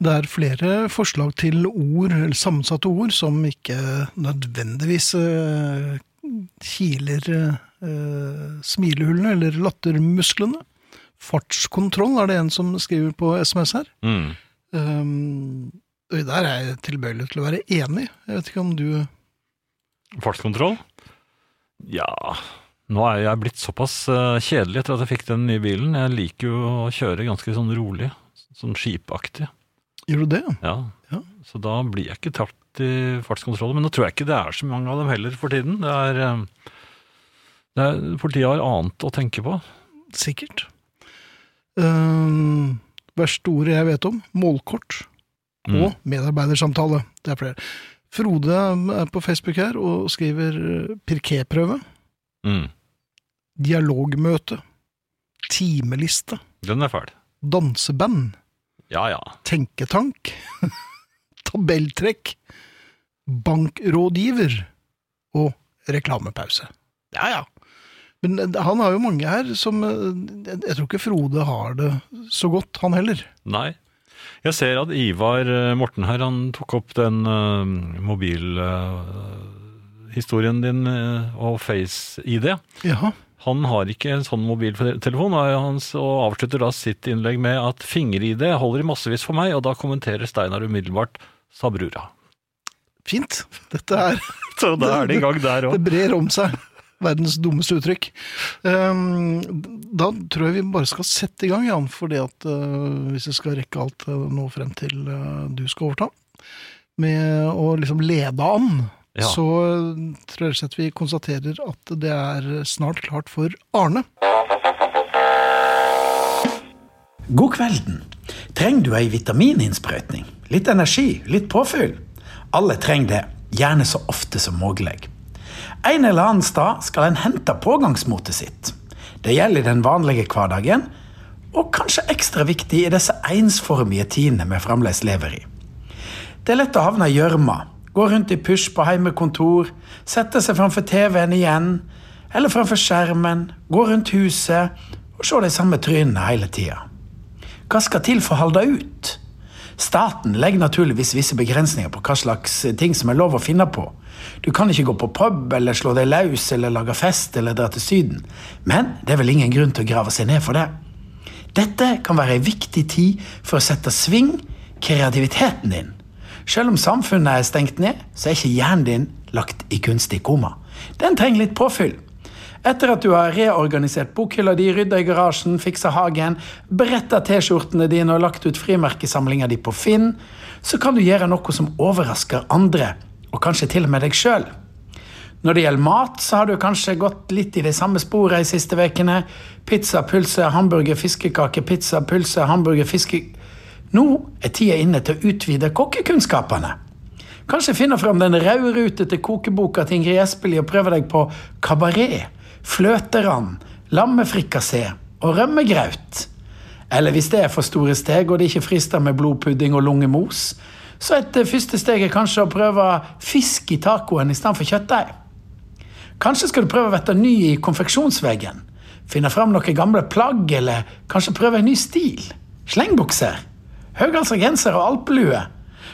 Speaker 2: Det er flere forslag til ord, eller sammensatte ord, som ikke nødvendigvis eh, kiler eh, smilehullene eller lattermusklene. Fartskontroll er det en som skriver på SMS her.
Speaker 3: Mm.
Speaker 2: Um, og der er jeg tilbøyelig til å være enig. Jeg vet ikke om du
Speaker 3: Fartskontroll? Ja Nå er jeg blitt såpass eh, kjedelig etter at jeg fikk den nye bilen. Jeg liker jo å kjøre ganske sånn rolig. Sånn skipaktig.
Speaker 2: Gjør du det?
Speaker 3: Ja.
Speaker 2: Ja.
Speaker 3: Så da blir jeg ikke tapt i fartskontrollen. Men nå tror jeg ikke det er så mange av dem heller for tiden. Det er, eh, det er, politiet har annet å tenke på.
Speaker 2: Sikkert. Um, verste ordet jeg vet om, målkort
Speaker 3: Mm.
Speaker 2: og medarbeidersamtale. Det er flere. Frode er på Facebook her og skriver eh, pirképrøve,
Speaker 3: Mm.
Speaker 2: dialogmøte, timeliste,
Speaker 3: Den er fæl.
Speaker 2: danseband,
Speaker 3: Ja ja.
Speaker 2: tenketank, tabelltrekk, bankrådgiver og reklamepause. Ja, ja. Men eh, han har jo mange her som eh, Jeg jeg tror ikke Frode har det så godt, han heller.
Speaker 3: Nei. Jeg ser at Ivar eh, Morten her, han tok opp den eh, mobilhistorien din eh, og Face-ID.
Speaker 2: Jaha.
Speaker 3: Han har ikke en sånn mobiltelefon, og han s- og avslutter da sitt innlegg med at finger-ID holder i massevis for meg, og da kommenterer Steinar umiddelbart sa brura.
Speaker 2: Fint. Dette er
Speaker 3: Så da er det i gang der
Speaker 2: Det
Speaker 3: òg.
Speaker 2: brer om seg. Verdens dummeste uttrykk. Ehm, da tror jeg vi bare skal sette i gang, Jan, fordi at eh, hvis vi skal rekke alt eh, nå frem til eh, du skal overta, med å liksom lede an,
Speaker 3: Ja.
Speaker 2: så eh, tror jeg rett og slett vi konstaterer at det er snart klart for Arne.
Speaker 4: God kvelden. Trenger du ei vitamininnsprøytning? Litt energi? Litt påfyll? Alle trenger det, gjerne så ofte som mulig. En eller annen stad skal en hente pågangsmotet sitt. Det gjelder i den vanlige hverdagen, og kanskje ekstra viktig i disse ensformige tidene vi fremdeles lever i. Det er lett å havne i gjørma. Gå rundt i pysj på heimekontor, sette seg framfor TV-en igjen, eller framfor skjermen, gå rundt huset og se de samme trynene hele tida. Hva skal til for å holde det ut? Staten legger naturligvis visse begrensninger på hva slags ting som er lov å finne på. Du kan ikke gå på pub eller slå deg løs eller lage fest eller dra til Syden, men det er vel ingen grunn til å grave seg ned for det. Dette kan være en viktig tid for å sette sving kreativiteten din. Selv om samfunnet er stengt ned, så er ikke hjernen din lagt i kunstig koma. Den trenger litt påfyll. Etter at du har reorganisert bokhylla di, rydda i garasjen, fiksa hagen, beretta T-skjortene dine og lagt ut frimerkesamlinga di på Finn, så kan du gjøre noe som overrasker andre, og kanskje til og med deg sjøl. Når det gjelder mat, så har du kanskje gått litt i de samme sporene de siste ukene. Pizza, pølse, hamburger, fiskekake, pizza, pølse, hamburger, fiske... Nå er tida inne til å utvide kokkekunnskapene. Kanskje finne fram den rødrutete kokeboka til Ingrid Espelid og prøve deg på kabaret, fløterand, lammefrikassé og rømmegraut. Eller hvis det er for store steg og det ikke frister med blodpudding og lungemos, så et eh, første steg er kanskje å prøve fisk i tacoen istedenfor kjøttdeig. Kanskje skal du prøve å vette ny i konfeksjonsveggen? Finne fram noen gamle plagg, eller kanskje prøve en ny stil? Slengbukser? Høyhalsa genser og alpelue?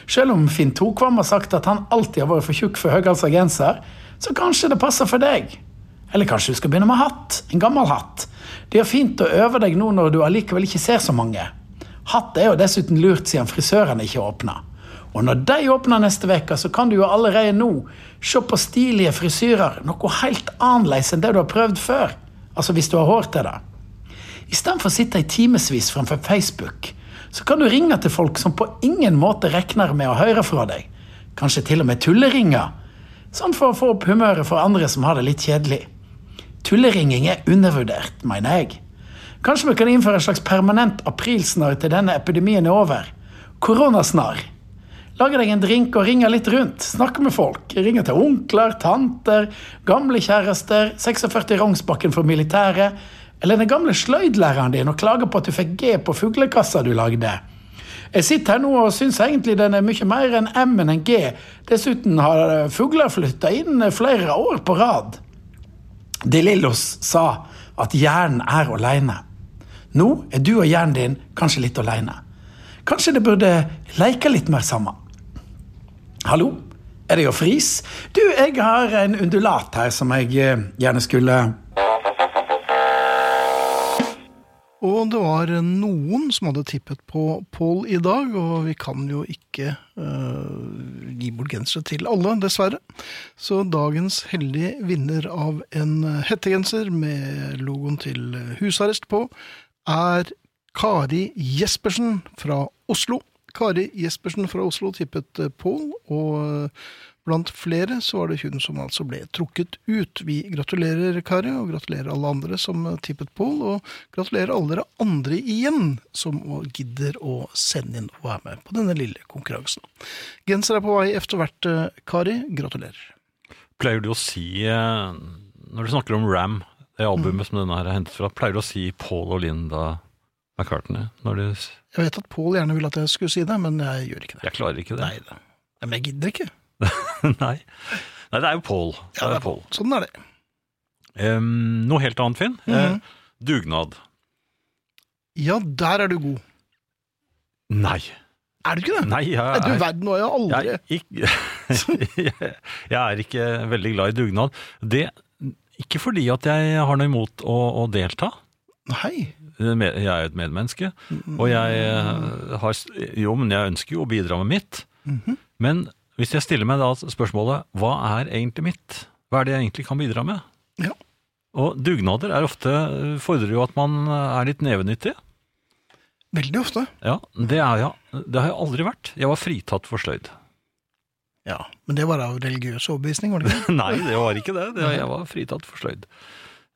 Speaker 4: Selv om Finn Tokvam har sagt at han alltid har vært for tjukk for høyhalsa genser, så kanskje det passer for deg? Eller kanskje du skal begynne med hatt? En gammel hatt? Det gjør fint å øve deg nå når du allikevel ikke ser så mange. Hatt er jo dessuten lurt siden frisørene ikke åpner. Og når de åpner neste uke, så kan du jo allerede nå se på stilige frisyrer, noe helt annerledes enn det du har prøvd før. Altså hvis du har hår til det. Istedenfor å sitte i timevis framfor Facebook, så kan du ringe til folk som på ingen måte regner med å høre fra deg. Kanskje til og med tulleringer. Sånn for å få opp humøret for andre som har det litt kjedelig. Tulleringing er undervurdert, mener jeg. Kanskje vi kan innføre en slags permanent aprilsnarr til denne epidemien er over. Koronasnarr. Lage deg en drink og ringe litt rundt. Snakke med folk. Ringe til onkler, tanter, gamle kjærester, 46 Rognsbakken for militæret, eller den gamle sløydlæreren din og klage på at du fikk G på fuglekassa du lagde. Jeg sitter her nå og syns egentlig den er mye mer enn M enn en G. Dessuten har eh, fugler flytta inn eh, flere år på rad. De Lillos sa at hjernen er aleine. Nå er du og hjernen din kanskje litt aleine. Kanskje det burde leke litt mer sammen. Hallo, er det jo Fris? Du, jeg har en undulat her som jeg eh, gjerne skulle
Speaker 2: Og det var noen som hadde tippet på Pål i dag, og vi kan jo ikke eh, gi bort gensere til alle, dessverre. Så dagens heldige vinner av en hettegenser med logoen til husarrest på, er Kari Jespersen fra Oslo. Kari Jespersen fra Oslo tippet eh, Pål, og eh, blant flere så var det hun som altså ble trukket ut. Vi gratulerer Kari, og gratulerer alle andre som eh, tippet Pål, og gratulerer alle dere andre igjen som å- gidder å sende inn og være med på denne lille konkurransen. Genser er på vei efter hvert, eh, Kari. Gratulerer.
Speaker 3: Pleier du å si, eh, når du snakker om Ram, det albumet som denne her er hentet fra, pleier du å si Paul og Linda McCartney? Når du, s-
Speaker 2: Jeg vet at Pål gjerne ville at jeg skulle si det, men jeg gjør ikke det.
Speaker 3: jeg klarer ikke det.
Speaker 2: Nei da. Nei, Men jeg gidder ikke.
Speaker 3: Nei. Nei, det er jo Paul. Det er Paul.
Speaker 2: Sånn er det.
Speaker 3: Em, noe helt annet, Finn. Eh,
Speaker 2: Mhm.
Speaker 3: dugnad.
Speaker 2: Ja, der er du god.
Speaker 3: Nei.
Speaker 2: Er du ikke det?
Speaker 3: Nei, jeg
Speaker 2: Nei, du
Speaker 3: er
Speaker 2: verden, nå har jeg aldri
Speaker 3: jeg, ikk- jeg er ikke veldig glad i dugnad. Det, ikke fordi at jeg har noe imot å, å delta.
Speaker 2: Nei.
Speaker 3: Me- Jeg er jo et medmenneske, og jeg eh, har s- Jo, men jeg ønsker jo å bidra med mitt.
Speaker 2: Mhm.
Speaker 3: Men hvis jeg stiller meg da spørsmålet hva er egentlig mitt? Hva er det jeg egentlig kan bidra med?
Speaker 2: Ja.
Speaker 3: Og dugnader er ofte, eh, fordrer jo at man eh, er litt nevenyttig.
Speaker 2: Veldig ofte.
Speaker 3: Ja, det, er jeg, det har jeg aldri vært. Jeg var fritatt for sløyd.
Speaker 2: Ja, Men det var av religiøs overbevisning, var det ikke?
Speaker 3: Nei, det var ikke det. det jeg var fritatt for sløyd.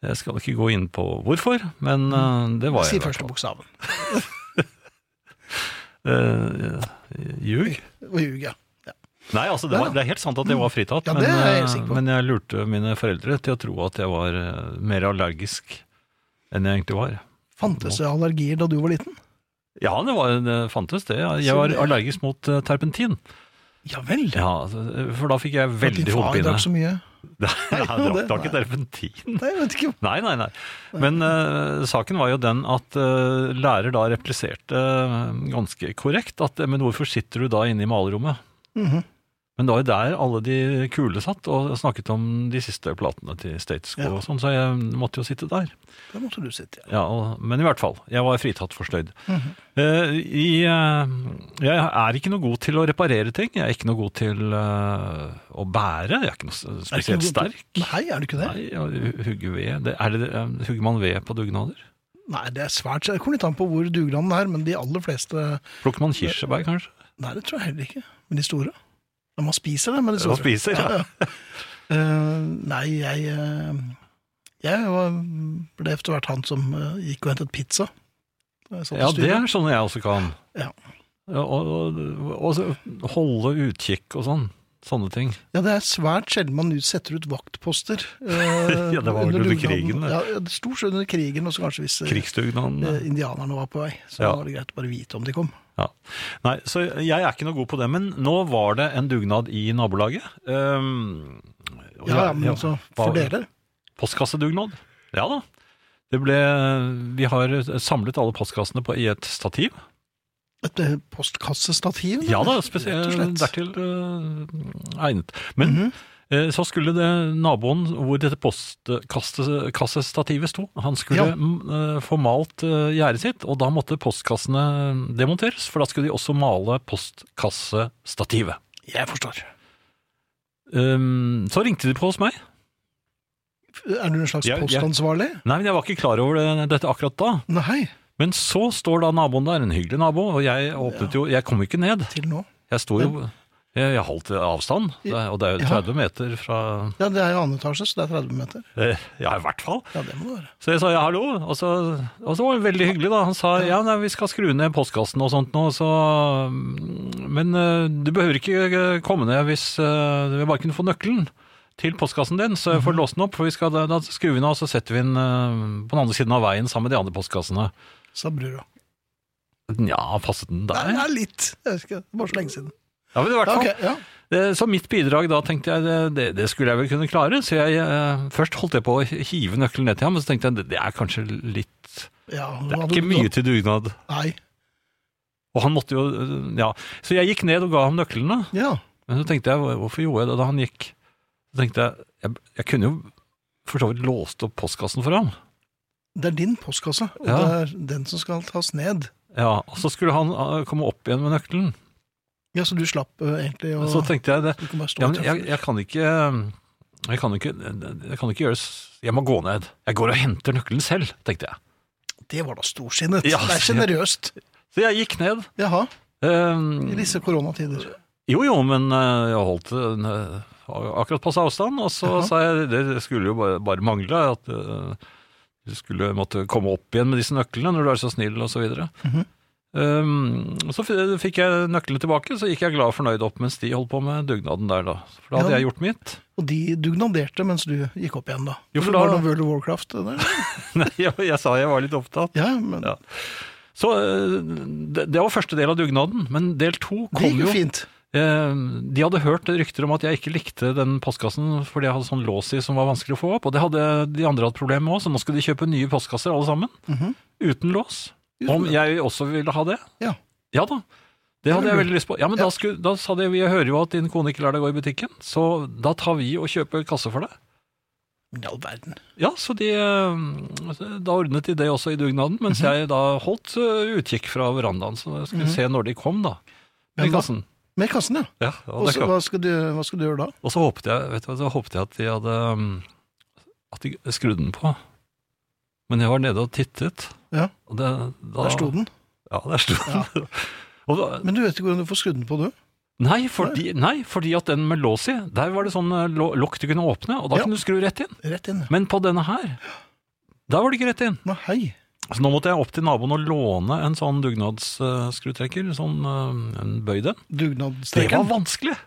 Speaker 3: Jeg skal ikke gå inn på hvorfor, men eh, det var jeg.
Speaker 2: Si
Speaker 3: i hvert
Speaker 2: første
Speaker 3: fall.
Speaker 2: bokstaven.
Speaker 3: Eh, Ljug?
Speaker 2: Og ljug, ja.
Speaker 3: Nei, altså det, var, det er helt sant at jeg var fritatt,
Speaker 2: Ja, det
Speaker 3: men,
Speaker 2: er jeg helt
Speaker 3: eh,
Speaker 2: sikker på.
Speaker 3: men jeg lurte mine foreldre til å tro at jeg var eh, mer allergisk enn jeg egentlig var.
Speaker 2: Fantes det allergier da du var liten?
Speaker 3: Ja, det, var, det fantes det. Jeg var allergisk mot eh, terpentin.
Speaker 2: Ja vel.
Speaker 3: Ja, altså, for da fikk jeg
Speaker 2: Din
Speaker 3: veldig
Speaker 2: far
Speaker 3: hodepine.
Speaker 2: drakk så mye.
Speaker 3: Nei, jeg
Speaker 2: det-
Speaker 3: drakk da ikke
Speaker 2: nei.
Speaker 3: terpentin.
Speaker 2: Nei, jeg vet ikke.
Speaker 3: Nei, nei, nei. Men eh, saken var jo den at eh, lærer da repliserte eh, ganske korrekt at eh, men hvorfor sitter du da inne i malerommet?
Speaker 2: Mhm.
Speaker 3: Men det var jo der alle de kule satt og snakket om de siste platene til Statesco
Speaker 2: Ja.
Speaker 3: og sånn, så jeg måtte jo sitte der.
Speaker 2: Da måtte du sitte, ja.
Speaker 3: Ja, og, men i hvert fall, jeg var fritatt for støyd. Eh, i, eh, jeg er ikke noe god til å reparere ting, jeg er ikke noe god til eh, å bære, jeg er ikke noe s-
Speaker 2: Er det ikke
Speaker 3: spesielt
Speaker 2: noe-
Speaker 3: sterk.
Speaker 2: Nei, er du ikke det? Nei,
Speaker 3: Nei, ja, hu- hugge ved. Det, er det, eh, hugger man ved på dugnader?
Speaker 2: det er svært Det kommer litt an på hvor dugnaden er, men de aller fleste
Speaker 3: Plukker man kirsebær, kanskje?
Speaker 2: Nei, det tror jeg heller ikke. Men de store. Ja, man spiser det, men de store.
Speaker 3: Og spiser, ja.
Speaker 2: Eh, nei, jeg eh, Jeg var, ble etter hvert han som eh, gikk og hentet pizza. Da jeg satt
Speaker 3: Ja,
Speaker 2: og
Speaker 3: det
Speaker 2: styrte.
Speaker 3: er sånn jeg også kan.
Speaker 2: Ja.
Speaker 3: Ja, og, og, og så holde utkikk og sånn. Sånne ting.
Speaker 2: Ja, det er svært sjelden man ut- setter ut vaktposter. eh,
Speaker 3: Ja, det var
Speaker 2: under
Speaker 3: vel under
Speaker 2: dugnaden.
Speaker 3: krigen, det.
Speaker 2: Ja, ja, det stort sett under krigen, og så kanskje hvis eh, eh,
Speaker 3: Krigsdugnaden.
Speaker 2: indianerne var på vei. Så
Speaker 3: Ja.
Speaker 2: da var det greit å bare vite om de kom.
Speaker 3: Ja. Nei, så jeg er ikke noe god på det, men nå var det en dugnad i nabolaget. Um, og
Speaker 2: Ja, ja,
Speaker 3: jeg-
Speaker 2: men
Speaker 3: jeg-
Speaker 2: altså, for
Speaker 3: hva-
Speaker 2: dere
Speaker 3: Postkassedugnad. Ja da. Det ble, vi har samlet alle postkassene på, i et stativ.
Speaker 2: Et eh, postkassestativ?
Speaker 3: Ja da,
Speaker 2: eller? Rett og
Speaker 3: spesielt
Speaker 2: slett.
Speaker 3: Eh,
Speaker 2: Mhm.
Speaker 3: dertil eh, egnet. Men eh, så skulle det naboen hvor dette postkassestativet sto, han skulle
Speaker 2: Ja.
Speaker 3: mm, eh, få malt eh, gjerdet sitt, og da måtte postkassene demonteres, for da skulle de også male postkassestativet.
Speaker 2: Jeg forstår.
Speaker 3: Um, så ringte de på hos meg.
Speaker 2: Er du en slags
Speaker 3: Ja, ja.
Speaker 2: postansvarlig?
Speaker 3: Nei, men jeg var ikke klar over det, dette akkurat da.
Speaker 2: Nei,
Speaker 3: Men så står da naboen der, en hyggelig nabo, og jeg åpnet jo Jeg kom ikke ned.
Speaker 2: til nå.
Speaker 3: Jeg sto jo Jeg jeg holdt avstand, det er- og det er jo
Speaker 2: Ja.
Speaker 3: 30 meter fra
Speaker 2: Ja, det er jo annen etasje, så det er 30 meter.
Speaker 3: eh, Ja, i hvert fall.
Speaker 2: Ja, det må det være.
Speaker 3: Så jeg sa ja, hallo, og så, og så var det veldig hyggelig da. Han sa ja, nei, vi skal skru ned postkassen og sånt nå, så mm, Men eh, du behøver ikke eh, komme ned hvis eh, Vi bare kunne få nøkkelen til postkassen din, så
Speaker 2: Mhm.
Speaker 3: jeg får låst den opp. For vi skal, da, da skrur vi den av, så setter vi den eh, på den andre siden av veien sammen med de andre postkassene.
Speaker 2: Sa brura.
Speaker 3: Nja, passet
Speaker 2: Nei,
Speaker 3: den der?
Speaker 2: det er litt. Jeg husker det. Bare så lenge siden.
Speaker 3: Ja, men i hvert
Speaker 2: Ja,
Speaker 3: fall.
Speaker 2: ok, ja.
Speaker 3: Det- Eh, Så mitt bidrag da tenkte jeg, eh, det- det, det skulle jeg vel kunne klare. Så jeg, eh, først holdt jeg på å hive nøkkelen ned til ham, men så tenkte jeg det- det er kanskje litt
Speaker 2: ja
Speaker 3: Det er ikke mye til dugnad.
Speaker 2: Nei.
Speaker 3: Og han måtte jo, øh, ja. Så jeg gikk ned og ga ham nøklene.
Speaker 2: Ja.
Speaker 3: Men så tenkte jeg, hvor- hvorfor gjorde jeg det da han gikk? Så tenkte jeg, jeg, jeg kunne jo for så vidt låst opp postkassen for ham.
Speaker 2: Det er din postkasse, og
Speaker 3: Ja.
Speaker 2: det er den som skal tas ned.
Speaker 3: Ja, og så skulle han øh, komme opp igjen med nøkkelen.
Speaker 2: Ja, så du slapp eh, egentlig å
Speaker 3: Og så tenkte jeg det,
Speaker 2: Du kan bare stå
Speaker 3: ja,
Speaker 2: og
Speaker 3: men jeg,
Speaker 2: treffe.
Speaker 3: jeg kan ikke, øh, jeg kan ikke, jeg kan ikke gjøre, s- jeg må gå ned. Jeg går og henter nøkkelen selv, tenkte jeg.
Speaker 2: Det var da storsinnet.
Speaker 3: Ja.
Speaker 2: Det er sjenerøst.
Speaker 3: Så jeg gikk ned.
Speaker 2: Jaha. I
Speaker 3: øh,
Speaker 2: disse koronatider.
Speaker 3: Jo, jo, men eh, jeg holdt en, eh, akkurat passe avstand, og så
Speaker 2: Jaha.
Speaker 3: sa jeg det skulle jo bare, bare mangle at eh, du skulle måtte komme opp igjen med disse nøklene når du er så snill, og så videre.
Speaker 2: Mhm.
Speaker 3: Um, og så f- fikk jeg nøklene tilbake, så gikk jeg glad og fornøyd opp mens de holdt på med dugnaden der, da. For da hadde
Speaker 2: Ja.
Speaker 3: jeg gjort mitt.
Speaker 2: Og de dugnaderte mens du gikk opp igjen, da.
Speaker 3: Jo, for
Speaker 2: Var
Speaker 3: da-
Speaker 2: det noe World of Warcraft? det Der?
Speaker 3: Nei, jeg, jeg sa jeg var litt opptatt.
Speaker 2: Ja, men
Speaker 3: Ja. Så eh, det, det var første del av dugnaden, men del to
Speaker 2: det
Speaker 3: kom
Speaker 2: gikk
Speaker 3: jo
Speaker 2: jo fint.
Speaker 3: Eh, De hadde hørt rykter om at jeg ikke likte den postkassen fordi jeg hadde sånn lås i som var vanskelig å få opp, og det hadde de andre hatt problemer med òg, så nå skulle de kjøpe nye postkasser alle sammen.
Speaker 2: Mhm.
Speaker 3: Uten lås.
Speaker 2: Uten
Speaker 3: Om
Speaker 2: lås.
Speaker 3: jeg også ville ha det?
Speaker 2: Ja.
Speaker 3: Ja da. Det hadde jeg veldig lyst på. Ja, men
Speaker 2: Ja.
Speaker 3: da, skulle, da sa de vi hører jo at din kone ikke lar deg gå i butikken, så da tar vi og kjøper kasse for deg.
Speaker 2: I all verden.
Speaker 3: Ja, så de eh, Da ordnet de det også i dugnaden,
Speaker 2: Mhm.
Speaker 3: mens jeg da holdt eh, utkikk fra verandaen, så jeg skulle se når de kom, da.
Speaker 2: Men
Speaker 3: Med
Speaker 2: da-
Speaker 3: kassen.
Speaker 2: Med kassen, ja.
Speaker 3: Ja,
Speaker 2: Og
Speaker 3: og det
Speaker 2: så
Speaker 3: kom.
Speaker 2: hva, skal du- hva skal du gjøre da?
Speaker 3: Og så håpet jeg, vet du, hva, så håpet jeg at de hadde um, At de skrudde den på. Men jeg var nede og tittet.
Speaker 2: Ja.
Speaker 3: Og det, da,
Speaker 2: Der sto den.
Speaker 3: Ja, der sto den. og da,
Speaker 2: Men du vet ikke hvordan du får skrudd den på, du?
Speaker 3: nei, fordi, nei, fordi at den med lås i, der var det sånn eh, lå- lokk du kunne åpne, og da
Speaker 2: Ja.
Speaker 3: kunne du skru rett inn.
Speaker 2: Rett inn.
Speaker 3: Men på denne her, der var det ikke rett inn.
Speaker 2: Nå, hei.
Speaker 3: Så nå måtte jeg opp til naboen og låne en sånn dugnadsskruttrekker. Sånn eh, en bøyd en. Det var
Speaker 2: Dugnadstrekken.
Speaker 3: vanskelig!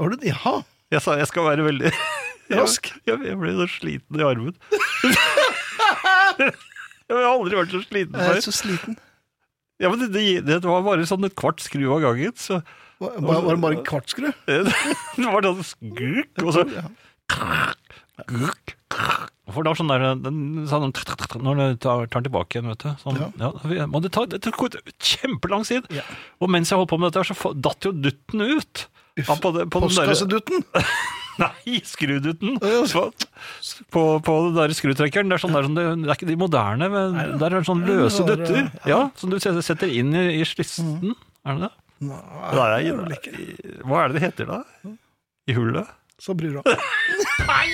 Speaker 2: Var det Jaha.
Speaker 3: Jeg sa jeg skal være veldig
Speaker 2: Rask.
Speaker 3: Jeg, jeg ble så sliten i armen. jeg har aldri vært så sliten
Speaker 2: Jeg er
Speaker 3: før.
Speaker 2: så sliten.
Speaker 3: Ja, men det, det, det var bare sånn et kvart skru av gangen. Så
Speaker 2: Var, var var det bare en kvartskru?
Speaker 3: det var sånn skuk, og så guk, For det var sånn der den, sånn, Når du tar, tar den tilbake igjen, vet du. Sånn, ja. men det, tar, det tok kjempelang tid.
Speaker 2: Ja.
Speaker 3: Og mens jeg holdt på med dette, her, så fa- datt jo dutten ut. Ja, på, det- på den derre-
Speaker 2: Postkassedutten?
Speaker 3: Nei, skruduten!
Speaker 2: ja.
Speaker 3: På, på, på den der skrutrekkeren. Det er, sånn, det, er sånn, det er ikke de moderne, men der er det sånn løse
Speaker 2: Det var- Mm.
Speaker 3: dutter. Ja, Som du setter setter inn i, i slissen. Er det det?
Speaker 2: Nei,
Speaker 3: Nei, i- hva er det det heter da? I hullet?
Speaker 2: sa brura. Nei!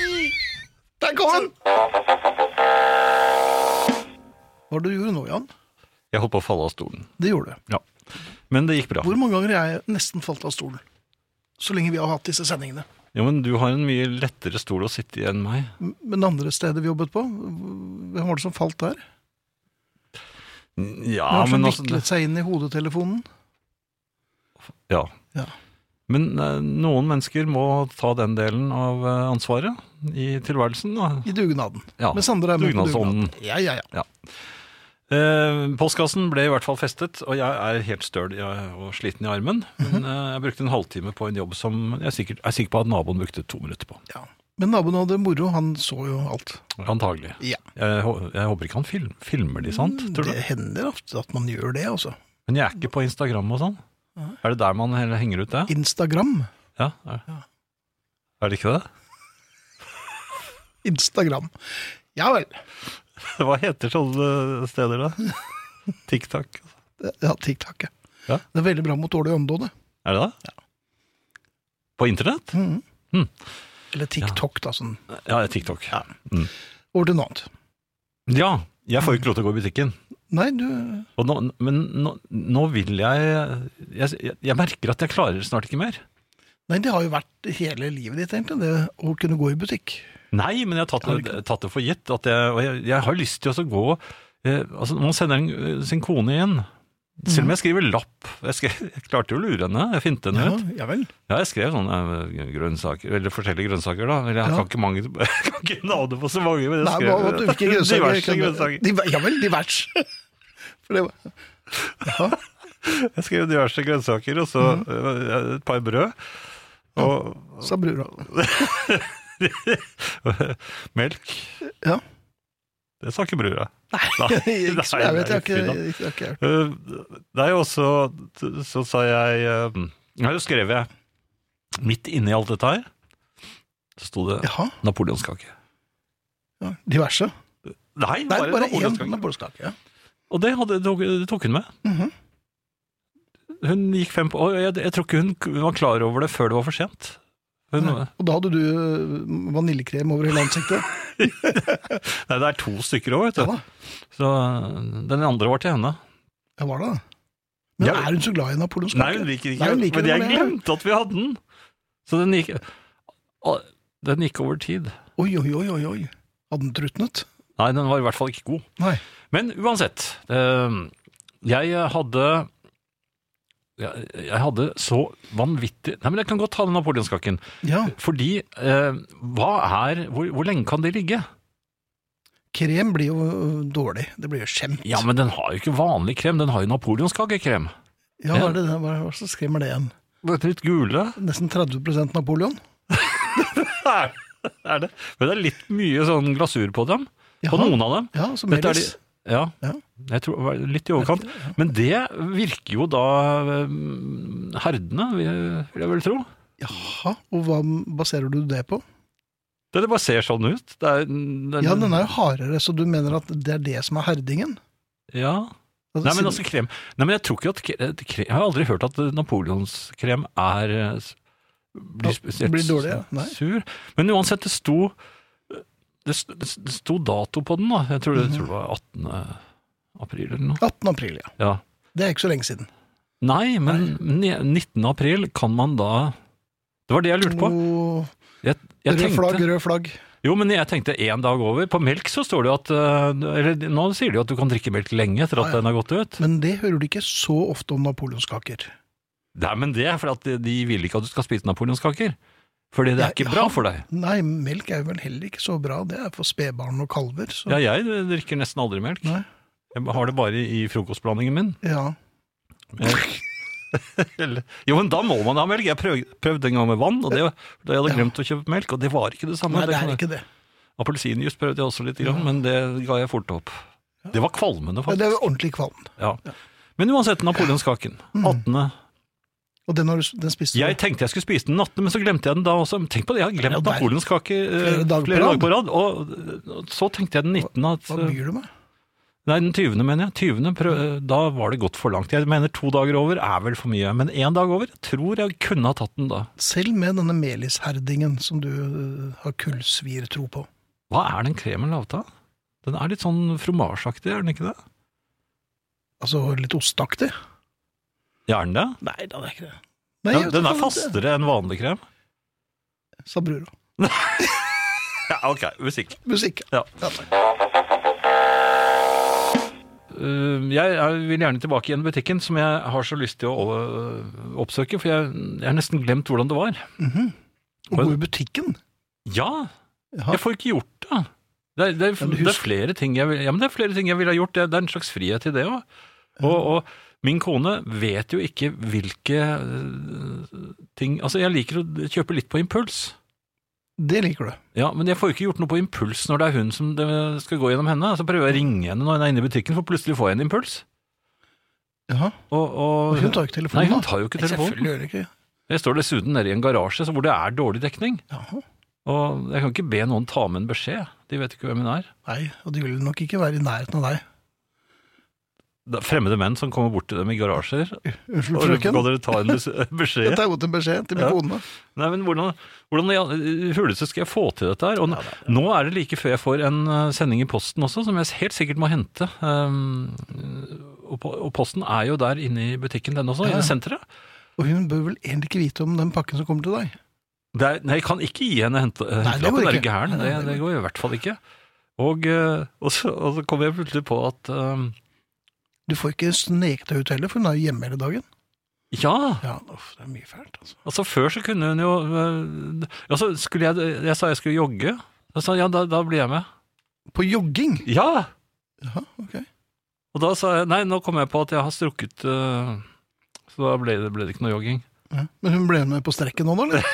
Speaker 2: Der kom den! Hva var det du gjorde nå, Jan?
Speaker 3: Jeg holdt på å falle av stolen.
Speaker 2: Det gjorde du.
Speaker 3: Ja. Men det gikk bra.
Speaker 2: Hvor mange ganger har jeg nesten falt av stolen? Så lenge vi har hatt disse sendingene.
Speaker 3: Jo, men du har en mye lettere stol å sitte i enn meg.
Speaker 2: Men andre steder vi jobbet på, hvem var det som falt der?
Speaker 3: Ja,
Speaker 2: Hvem var det som
Speaker 3: men altså
Speaker 2: viklet seg inn i hodetelefonen?
Speaker 3: Ja.
Speaker 2: Ja.
Speaker 3: Men eh, noen mennesker må ta den delen av eh, ansvaret i tilværelsen. Da.
Speaker 2: I dugnaden.
Speaker 3: Ja,
Speaker 2: Mens andre er med på
Speaker 3: dugnadsånden.
Speaker 2: dugnaden. Ja, ja, ja.
Speaker 3: Eh, postkassen ble i hvert fall festet, og jeg er helt støl i- og sliten i armen. Men eh, jeg brukte en halvtime på en jobb som jeg er sikker, er sikker på at naboen brukte to minutter på.
Speaker 2: ja. Men naboen hadde moro, han så jo alt.
Speaker 3: Antagelig.
Speaker 2: Ja.
Speaker 3: Jeg, hå- jeg håper ikke han film, filmer de, sant? Tror du?
Speaker 2: Det hender ofte at man gjør det, altså.
Speaker 3: Men jeg er ikke på Instagram og sånn. Er det der man heller henger ut det?
Speaker 2: Instagram.
Speaker 3: Ja, er, er det ikke det?
Speaker 2: Instagram. Ja vel.
Speaker 3: Hva heter sånne steder da? TikTok?
Speaker 2: Ja, TikTok, ja.
Speaker 3: Ja.
Speaker 2: Det er veldig bra mot dårlig åndedåd, det.
Speaker 3: Er det det? På internett?
Speaker 2: Mm. Eller TikTok, da. sånn.
Speaker 3: Mm. Ja, TikTok. Ja. Mm.
Speaker 2: Over til noe annet.
Speaker 3: ja, jeg får jo ikke lov til å gå i butikken.
Speaker 2: Nei, du
Speaker 3: Og nå, men nå, nå vil jeg jeg, jeg merker at jeg klarer snart ikke mer.
Speaker 2: Nei, det har jo vært hele livet ditt, egentlig, det å kunne gå i butikk.
Speaker 3: Nei, men jeg har tatt,
Speaker 2: Har du
Speaker 3: det, tatt det for gitt. At jeg, og jeg, jeg har lyst til å så gå eh, altså Når man sender en, eh, sin kone igjen Selv om jeg skriver lapp jeg, skrev, jeg klarte jo å lure henne. Jeg finte henne ut.
Speaker 2: Mhm. ja vel.
Speaker 3: Ja, jeg skrev sånne eh, grønnsaker, eller forskjellige grønnsaker, da. Eller jeg
Speaker 2: Ja.
Speaker 3: kan ikke, mange, jeg kan ikke navne på så mange, men jeg
Speaker 2: Nei,
Speaker 3: skrev
Speaker 2: hva, hva, hvilke grønnsaker?
Speaker 3: diverse
Speaker 2: kan-
Speaker 3: grønnsaker.
Speaker 2: Diver- Ja vel, divers. For det var...
Speaker 3: Jeg skrev diverse grønnsaker, og så
Speaker 2: Mhm.
Speaker 3: eh, et par brød. Og
Speaker 2: Sa brura.
Speaker 3: melk.
Speaker 2: Ja.
Speaker 3: Det sa ikke brura.
Speaker 2: Jeg,
Speaker 3: Nei,
Speaker 2: jeg vet, jeg har ikke,
Speaker 3: fy da.
Speaker 2: jeg har ikke hørt.
Speaker 3: Eh, Nei, og så, så sa jeg eh, Nei, så skrev jeg Midt inne i alt dette her Så sto det
Speaker 2: Jaha,
Speaker 3: napoleonskake
Speaker 2: ja. diverse.
Speaker 3: Nei,
Speaker 2: Nei,
Speaker 3: bare,
Speaker 2: bare én
Speaker 3: napoleonskake
Speaker 2: napoleonskake. Ja.
Speaker 3: Og det, hadde, det tok hun med
Speaker 2: Mhm.
Speaker 3: Hun gikk fem på og jeg, jeg tror ikke hun k- var klar over det før det var for sent hun,
Speaker 2: Nei. Og da hadde du øh, vaniljekrem over hele ansiktet?
Speaker 3: Nei, det er to stykker over, vet
Speaker 2: Ja
Speaker 3: du
Speaker 2: da,
Speaker 3: Så eh, den andre var til henne
Speaker 2: jeg var det. Men
Speaker 3: Ja.
Speaker 2: er hun så glad i napoleonskake?
Speaker 3: Nei, hun liker ikke
Speaker 2: Nei, hun
Speaker 3: den,
Speaker 2: liker
Speaker 3: Men
Speaker 2: den,
Speaker 3: jeg
Speaker 2: men jeg-
Speaker 3: glemte at vi hadde den Så den gikk Å, Den gikk over tid
Speaker 2: Oi, oi, oi, oi, oi. Hadde den trutnet?
Speaker 3: Nei, den var i hvert fall ikke god
Speaker 2: Nei.
Speaker 3: Men uansett, eh, jeg hadde jeg, jeg hadde så vanvittig Nei, men jeg kan godt ta den napoleonskaken.
Speaker 2: Ja,
Speaker 3: Fordi eh, hva er hvor, hvor lenge kan det ligge?
Speaker 2: krem blir jo øh, dårlig. Det blir jo skjemt.
Speaker 3: Ja, men den har jo ikke vanlig krem, den har jo napoleonskakekrem.
Speaker 2: Ja, hva er det det? Hva hva så skremmer det igjen?
Speaker 3: Dette litt gule
Speaker 2: Nesten 30 Napoleon?
Speaker 3: er, er det. Men det er litt mye sånn glasur på dem. På
Speaker 2: Jaha.
Speaker 3: noen av dem.
Speaker 2: Ja, som
Speaker 3: Dette er
Speaker 2: Melis.
Speaker 3: de- Ja.
Speaker 2: Ja.
Speaker 3: Jeg tror, det var litt i overkant. Men det virker jo da eh, herdende, vil vil jeg vel tro.
Speaker 2: Jaha, og hva baserer du det på?
Speaker 3: Det, det bare ser sånn ut. Det er, den,
Speaker 2: Ja, den er jo hardere, så du mener at det er det som er herdingen?
Speaker 3: Ja.
Speaker 2: Altså,
Speaker 3: Nei, men
Speaker 2: siden-
Speaker 3: altså krem Nei, men jeg tror ikke at kre- at krem, Jeg har aldri hørt at eh, napoleonskrem er eh, s- Blir
Speaker 2: Ja,
Speaker 3: spesielt
Speaker 2: blir dårlig, ja. Nei.
Speaker 3: sur. Men uansett, det sto det, st- det sto dato på den, da. Jeg tror, det- jeg tror det var 18. april eller noe.
Speaker 2: 18. april, ja.
Speaker 3: Ja.
Speaker 2: Det er ikke så lenge siden.
Speaker 3: Nei, men ne- 19. april kan man da Det var det jeg lurte på.
Speaker 2: Og
Speaker 3: Jeg, jeg
Speaker 2: Rød
Speaker 3: tenkte,
Speaker 2: flagg, rød flagg.
Speaker 3: Jo, men jeg tenkte én dag over. På melk så står det jo at eh, Eller nå sier de jo at du kan drikke melk lenge etter
Speaker 2: Ja,
Speaker 3: at
Speaker 2: ja.
Speaker 3: den har gått ut.
Speaker 2: Men det hører du ikke så ofte om napoleonskaker.
Speaker 3: Nei, men det er fordi at de- de vil ikke at du skal spise napoleonskaker. Fordi det er ikke
Speaker 2: Ja,
Speaker 3: bra for deg.
Speaker 2: Nei, melk er jo vel heller ikke så bra. Det er for spedbarn og kalver. Så.
Speaker 3: Ja, jeg drikker nesten aldri melk.
Speaker 2: Nei.
Speaker 3: Jeg har det bare i frokostblandingen min.
Speaker 2: Ja.
Speaker 3: Eller- Jo, men da må man ha melk. Jeg prøv, prøvde en gang med vann, og det, da jeg
Speaker 2: Ja.
Speaker 3: hadde glemt å kjøpe melk, og det var ikke det samme.
Speaker 2: Nei, det
Speaker 3: kan
Speaker 2: er
Speaker 3: jeg-
Speaker 2: ikke det.
Speaker 3: Appelsinjuice prøvde jeg også litt, grann, men det ga jeg fort opp. Det var kvalmende,
Speaker 2: Ja, Det er jo Mm.
Speaker 3: faktisk.
Speaker 2: ordentlig kvalm.
Speaker 3: Ja. Men uansett, napoleonskaken. 18.
Speaker 2: Og den, har du, den spiste du
Speaker 3: Jeg tenkte jeg skulle spise den 18., men så glemte jeg den da også. Men Tenk på det, jeg har
Speaker 2: Ja,
Speaker 3: glemt
Speaker 2: der.
Speaker 3: napoleonskake eh,
Speaker 2: Flere dager på
Speaker 3: flere
Speaker 2: rad.
Speaker 3: dager på rad. Og og så tenkte jeg den 19. At, eh,
Speaker 2: Hva Mm. byr du med?
Speaker 3: Nei, den 20. mener jeg. 20. Prøv, da var det gått for langt. Jeg mener to dager over er vel for mye, men én dag over jeg tror jeg kunne ha tatt den da.
Speaker 2: Selv med denne melisherdingen som du øh, har kullsvirtro på.
Speaker 3: Hva er den kremen laget av? Den er litt sånn fromasjeaktig, er den ikke det?
Speaker 2: Altså litt ostaktig.
Speaker 3: Ja, Er den det?
Speaker 2: Nei, da, det er ikke det.
Speaker 3: Ja, den er fastere enn vanlig krem.
Speaker 2: Sa brura.
Speaker 3: Ja, ok, musikk.
Speaker 2: Musikk.
Speaker 3: Ja. Uh, jeg er- vil gjerne tilbake igjen i butikken, som jeg har så lyst til å øh, oppsøke, for jeg, jeg har nesten glemt hvordan det var.
Speaker 2: Mhm. Å gå i butikken?
Speaker 3: Ja,
Speaker 2: Jaha.
Speaker 3: jeg får ikke gjort det. Det er, det er,
Speaker 2: Ja, men
Speaker 3: det er
Speaker 2: husk-
Speaker 3: flere ting jeg vil, ja, men det er flere ting jeg ville ha gjort. Det er, det er en slags frihet i det òg. Og, og min kone vet jo ikke hvilke øh, ting Altså, jeg liker å kjøpe litt på impuls.
Speaker 2: Det liker du.
Speaker 3: Ja, Men jeg får jo ikke gjort noe på impuls når det er hun som det skal gå gjennom henne. Så prøver jeg å ringe henne når hun er inne i butikken, for plutselig får jeg en impuls.
Speaker 2: Jaha.
Speaker 3: Og, og,
Speaker 2: Hun tar jo ikke telefonen,
Speaker 3: Nei, hun
Speaker 2: da.
Speaker 3: tar jo ikke
Speaker 2: Nei,
Speaker 3: telefonen.
Speaker 2: Selvfølgelig gjør det ikke.
Speaker 3: Jeg står dessuten nede i en garasje så hvor det er dårlig dekning.
Speaker 2: Jaha.
Speaker 3: Og jeg kan ikke be noen ta med en beskjed. De vet ikke hvem hun er.
Speaker 2: Nei, og de vil nok ikke være i nærheten av deg.
Speaker 3: Det er fremmede menn som kommer bort til dem i garasjer.
Speaker 2: Unnskyld,
Speaker 3: Og
Speaker 2: frøken.
Speaker 3: kan dere ta en bes-
Speaker 2: Dette
Speaker 3: beskjed?
Speaker 2: er jo til beskjed til min
Speaker 3: Ja.
Speaker 2: kone.
Speaker 3: Nei, men hvordan, hvordan i all- i huleste skal jeg få til dette her? Og nå, nå er det like før jeg får en eh, sending i posten også, som jeg helt sikkert må hente. ehm, Um, og, po- og posten er jo der inne i butikken, den også, i det senteret.
Speaker 2: Og Og hun bør vel egentlig ikke vite om den pakken som kommer til deg.
Speaker 3: Det er, nei, jeg kan ikke gi henne hente-
Speaker 2: det
Speaker 3: hentelappen.
Speaker 2: går
Speaker 3: Er du
Speaker 2: ikke.
Speaker 3: gæren?
Speaker 2: Nei,
Speaker 3: Det,
Speaker 2: nei, det
Speaker 3: det går i hvert fall ikke. Og, eh, og, så, og så kom jeg plutselig på at eh,
Speaker 2: Du får ikke sneket deg ut heller, for hun er jo hjemme hele dagen.
Speaker 3: ja,
Speaker 2: Ja, uff, det er mye fælt, altså.
Speaker 3: altså før så kunne hun jo eh, Ja, så skulle jeg Jeg sa jeg skulle jogge. Da sa jeg, ja, da, da blir jeg med.
Speaker 2: På jogging!
Speaker 3: Ja!
Speaker 2: Jaha, ok.
Speaker 3: Og da sa jeg nei, nå kom jeg på at jeg har strukket eh, Så da ble det, ble det ikke noe jogging.
Speaker 2: Ja. Men hun ble med på strekken nå, da? eller?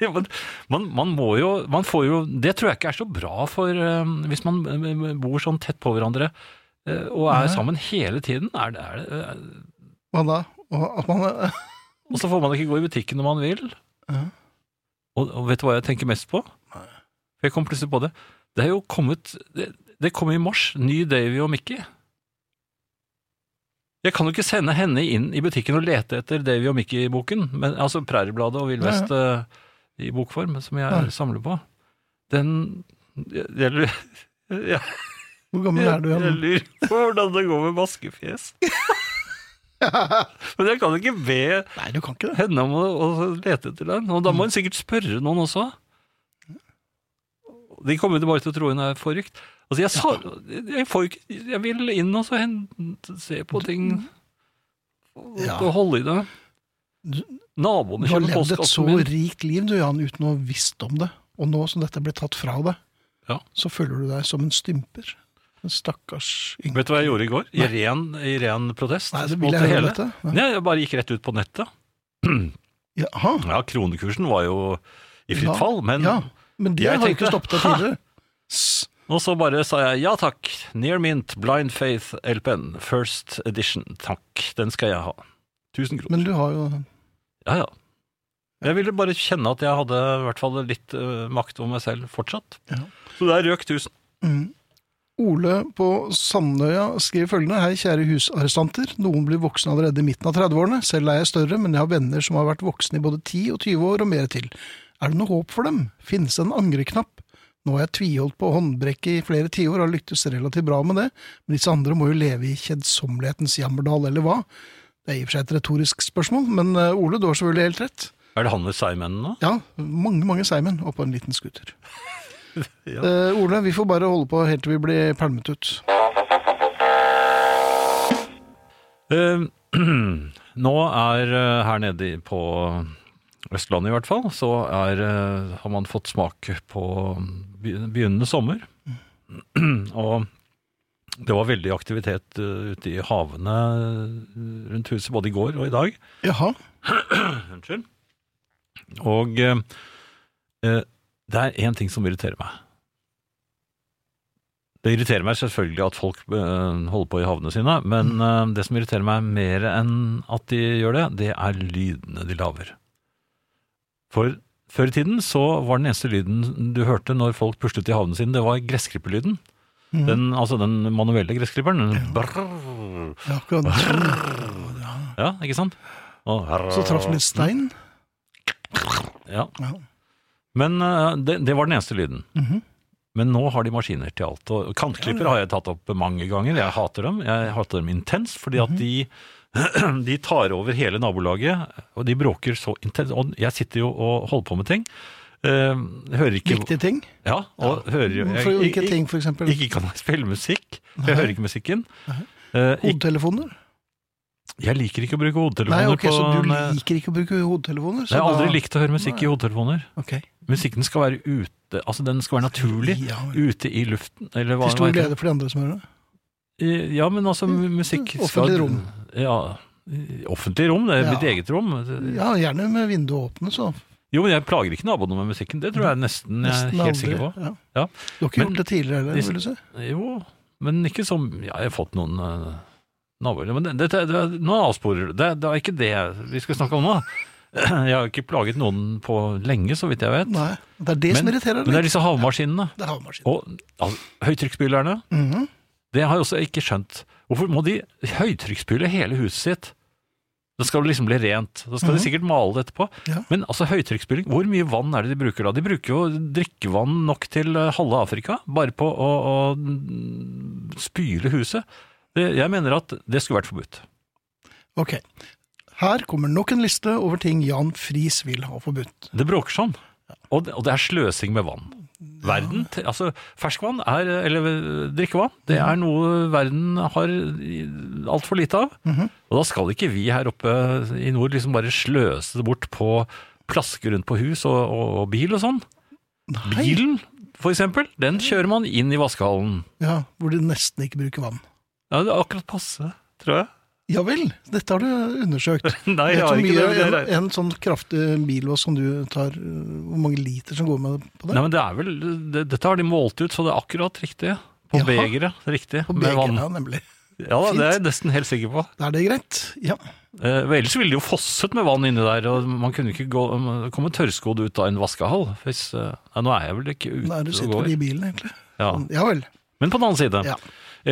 Speaker 3: Ja, men man, man må jo, man får jo Det tror jeg ikke er så bra for eh, Hvis man eh, bor sånn tett på hverandre eh, og er
Speaker 2: Nei.
Speaker 3: sammen hele tiden. Er det, er det, er,
Speaker 2: Hva da? Og at man,
Speaker 3: Og så får man ikke gå i butikken når man vil.
Speaker 2: Ja.
Speaker 3: Og, og vet du hva jeg tenker mest på? For jeg kom plutselig på det. Det er jo kommet Det, det kom i mars. Ny Davy og Mickey. Jeg kan jo ikke sende henne inn i butikken og lete etter Davy og Mickey-boken. men- Altså Præriebladet og Vill
Speaker 2: Ja, ja.
Speaker 3: Vest eh, i bokform, som jeg
Speaker 2: Ja.
Speaker 3: samler på. Den jeg, jeg, jeg,
Speaker 2: hvor gammel er
Speaker 3: jeg,
Speaker 2: du
Speaker 3: jeg
Speaker 2: igjen?
Speaker 3: lurer på hvordan det går med maskefjes. Men jeg kan jo ikke be
Speaker 2: Nei, du kan ikke det.
Speaker 3: henne om å, å lete etter den. Og da
Speaker 2: Mm.
Speaker 3: må hun sikkert spørre noen også. De kommer jo bare til å tro hun er forrykt. Altså, jeg, sa, jeg, får jo ikke, jeg vil inn og så hen- se på ting og
Speaker 2: Ja.
Speaker 3: og holde i det.
Speaker 2: Du
Speaker 3: Naboene
Speaker 2: har
Speaker 3: kjøper
Speaker 2: levd et så
Speaker 3: postkassen min.
Speaker 2: rikt liv, du, Jan, uten å ha visst om det. Og nå som dette ble tatt fra deg,
Speaker 3: Ja.
Speaker 2: så føler du deg som en stymper. En stakkars yngre.
Speaker 3: Vet du hva jeg gjorde i går? I ren, i ren protest.
Speaker 2: Nei, det
Speaker 3: mot
Speaker 2: vil
Speaker 3: det
Speaker 2: jeg høre
Speaker 3: hele.
Speaker 2: dette. Ja.
Speaker 3: Nei, jeg bare gikk rett ut på nettet.
Speaker 2: Jaha.
Speaker 3: Ja, kronekursen var jo i fritt
Speaker 2: Ja.
Speaker 3: fall, men
Speaker 2: Ja, men det
Speaker 3: Jeg
Speaker 2: har jo ikke
Speaker 3: tenkte,
Speaker 2: stoppet deg
Speaker 3: ha!
Speaker 2: tidligere. S-
Speaker 3: Og så bare sa jeg ja takk, Near Mint Blind Faith LPN, first edition, takk, den skal jeg ha. 1000 kroner.
Speaker 2: Men du har jo
Speaker 3: Ja, ja. Jeg ville bare kjenne at jeg hadde i hvert fall litt eh, makt over meg selv fortsatt.
Speaker 2: Ja.
Speaker 3: Så der røk 1000.
Speaker 2: mm. Ole på Sandøya skriver følgende. Hei, kjære husarrestanter. Noen blir voksne allerede i midten av 30-årene. Selv er jeg større, men jeg har venner som har vært voksne i både 10 og 20 år og mer til. Er det noe håp for dem? Finnes det en angreknapp? Nå har jeg tviholdt på håndbrekket i flere tiår og har lyktes relativt bra med det, men disse andre må jo leve i kjedsommelighetens jammerdal, eller hva? Det er i og for seg et retorisk spørsmål, men eh, Ole, du har selvfølgelig helt rett.
Speaker 3: Er det han med seigmennene nå?
Speaker 2: Ja, mange, mange seigmenn og på en liten scooter. Eh, Ole, vi får bare holde på helt til vi blir pælmet ut.
Speaker 3: Eh, nå er eh, her nede i- på Østlandet i hvert fall, så er, eh, har man fått smak på be- begynnende sommer. Og det var veldig aktivitet eh, ute i havene eh, rundt huset både i går og i dag.
Speaker 2: Jaha.
Speaker 3: Unnskyld. Og eh, eh, det er én ting som irriterer meg. Det irriterer meg selvfølgelig at folk eh, holder på i havnene sine, men eh, det som irriterer meg mer enn at de gjør det, det er lydene de lager. For før i tiden så var den eneste lyden du hørte når folk puslet i havnene sine, det var gressklipperlyden.
Speaker 2: Mhm.
Speaker 3: Den, altså den manuelle gressklipperen. den brrrr.
Speaker 2: Ja, akkurat.
Speaker 3: Ja, ikke sant? Og
Speaker 2: Så traff den litt stein.
Speaker 3: Ja.
Speaker 2: Ja.
Speaker 3: Men eh, det, det var den eneste lyden.
Speaker 2: Mhm.
Speaker 3: Men nå har de maskiner til alt. Og kantklipper har jeg tatt opp mange ganger. Jeg hater dem. Jeg hater dem intenst, fordi
Speaker 2: Mhm.
Speaker 3: at de, de tar over hele nabolaget, og de bråker så intenst. Og jeg sitter jo og holder på med ting. Eh, hører ikke
Speaker 2: Viktige ting.
Speaker 3: Ja, og hører jo jeg-
Speaker 2: For ulike ting, for
Speaker 3: ikke-
Speaker 2: eksempel.
Speaker 3: Ikke kan jeg spille musikk. for Jeg
Speaker 2: Nei.
Speaker 3: hører ikke musikken. Eh, ikke,
Speaker 2: Hodetelefoner?
Speaker 3: jeg liker ikke å bruke
Speaker 2: Nei,
Speaker 3: hodetelefoner
Speaker 2: ok,
Speaker 3: på eh,
Speaker 2: så du
Speaker 3: nei,
Speaker 2: liker ikke å bruke hodetelefoner? så
Speaker 3: Jeg har aldri
Speaker 2: da-
Speaker 3: likt å høre musikk i hodetelefoner.
Speaker 2: Ok.
Speaker 3: Musikken skal være ute, altså den skal være naturlig
Speaker 2: Ja, vel.
Speaker 3: ute i luften, eller hva
Speaker 2: Til stor
Speaker 3: hva heter det?
Speaker 2: glede for de andre som hører det.
Speaker 3: Eh, Ja, men altså musikk skal...
Speaker 2: Offentlig rom.
Speaker 3: Ja, i offentlig rom, det er
Speaker 2: Ja.
Speaker 3: mitt eget rom.
Speaker 2: Ja, gjerne med vinduet åpne, så.
Speaker 3: Jo, men jeg plager ikke naboene med musikken, det tror jeg nesten,
Speaker 2: Nesten
Speaker 3: jeg er helt
Speaker 2: aldri.
Speaker 3: sikker på.
Speaker 2: Ja.
Speaker 3: Ja.
Speaker 2: Du har ikke
Speaker 3: Men-
Speaker 2: gjort det tidligere heller,
Speaker 3: Disse-
Speaker 2: vil du si?
Speaker 3: Jo, men ikke som ja, Jeg har fått noen uh, naboer Men det, det, det, nå avsporer du. Det, det er ikke det vi skal snakke om nå. Jeg har ikke plaget noen på lenge, så vidt jeg vet.
Speaker 2: Nei. Det er det som
Speaker 3: men,
Speaker 2: irriterer
Speaker 3: men det
Speaker 2: deg.
Speaker 3: er disse havmaskinene.
Speaker 2: Det er havmaskin.
Speaker 3: Og altså, høytrykksspylerne.
Speaker 2: Mhm.
Speaker 3: Det har jeg også ikke skjønt. Hvorfor må de høytrykksspyle hele huset sitt? Da skal det liksom bli rent. Da skal de sikkert male det etterpå.
Speaker 2: Ja.
Speaker 3: Men altså høytrykksspyling, hvor mye vann er det de bruker da? De bruker jo drikkevann nok til eh, halve Afrika, bare på å, å mm, spyle huset. Det, jeg mener at det skulle vært forbudt.
Speaker 2: Ok. Her kommer nok en liste over ting Jan Friis vil ha forbudt.
Speaker 3: Det bråker sånn. Og det, og det er sløsing med vann. Verden, t- altså Ferskvann, er, eller eh, drikkevann, det er noe verden har altfor lite av. Og da skal ikke vi her oppe i nord liksom bare sløse det bort på plaske rundt på hus og, og, og bil og sånn. Bilen, for eksempel, den kjører man inn i vaskehallen.
Speaker 2: Ja, Hvor de nesten ikke bruker vann.
Speaker 3: Ja, det er akkurat passe, tror jeg.
Speaker 2: Ja vel, dette har du undersøkt.
Speaker 3: Nei, jeg
Speaker 2: Vet
Speaker 3: har
Speaker 2: du hvor
Speaker 3: ikke det.
Speaker 2: mye
Speaker 3: men det er-
Speaker 2: en, en sånn kraftig bilås som du tar, øh, hvor mange liter som går med på det?
Speaker 3: Nei, men det er vel, det, Dette har de målt ut, så det er akkurat riktig. På
Speaker 2: Jaha.
Speaker 3: begeret, riktig.
Speaker 2: på
Speaker 3: med vann.
Speaker 2: begeret, nemlig.
Speaker 3: Ja, da, det er jeg nesten helt sikker på.
Speaker 2: Da er det greit. Ja.
Speaker 3: Eh, og ellers ville det jo fosset med vann inni der, og man kunne ikke gå, man komme tørrskodd ut av en vaskehall. Hvis, eh, nei, nå er jeg vel ikke ute
Speaker 2: Da er du
Speaker 3: og
Speaker 2: sitter vel
Speaker 3: går.
Speaker 2: i bilen, egentlig.
Speaker 3: Ja.
Speaker 2: Ja vel.
Speaker 3: Men på den annen side,
Speaker 2: Ja.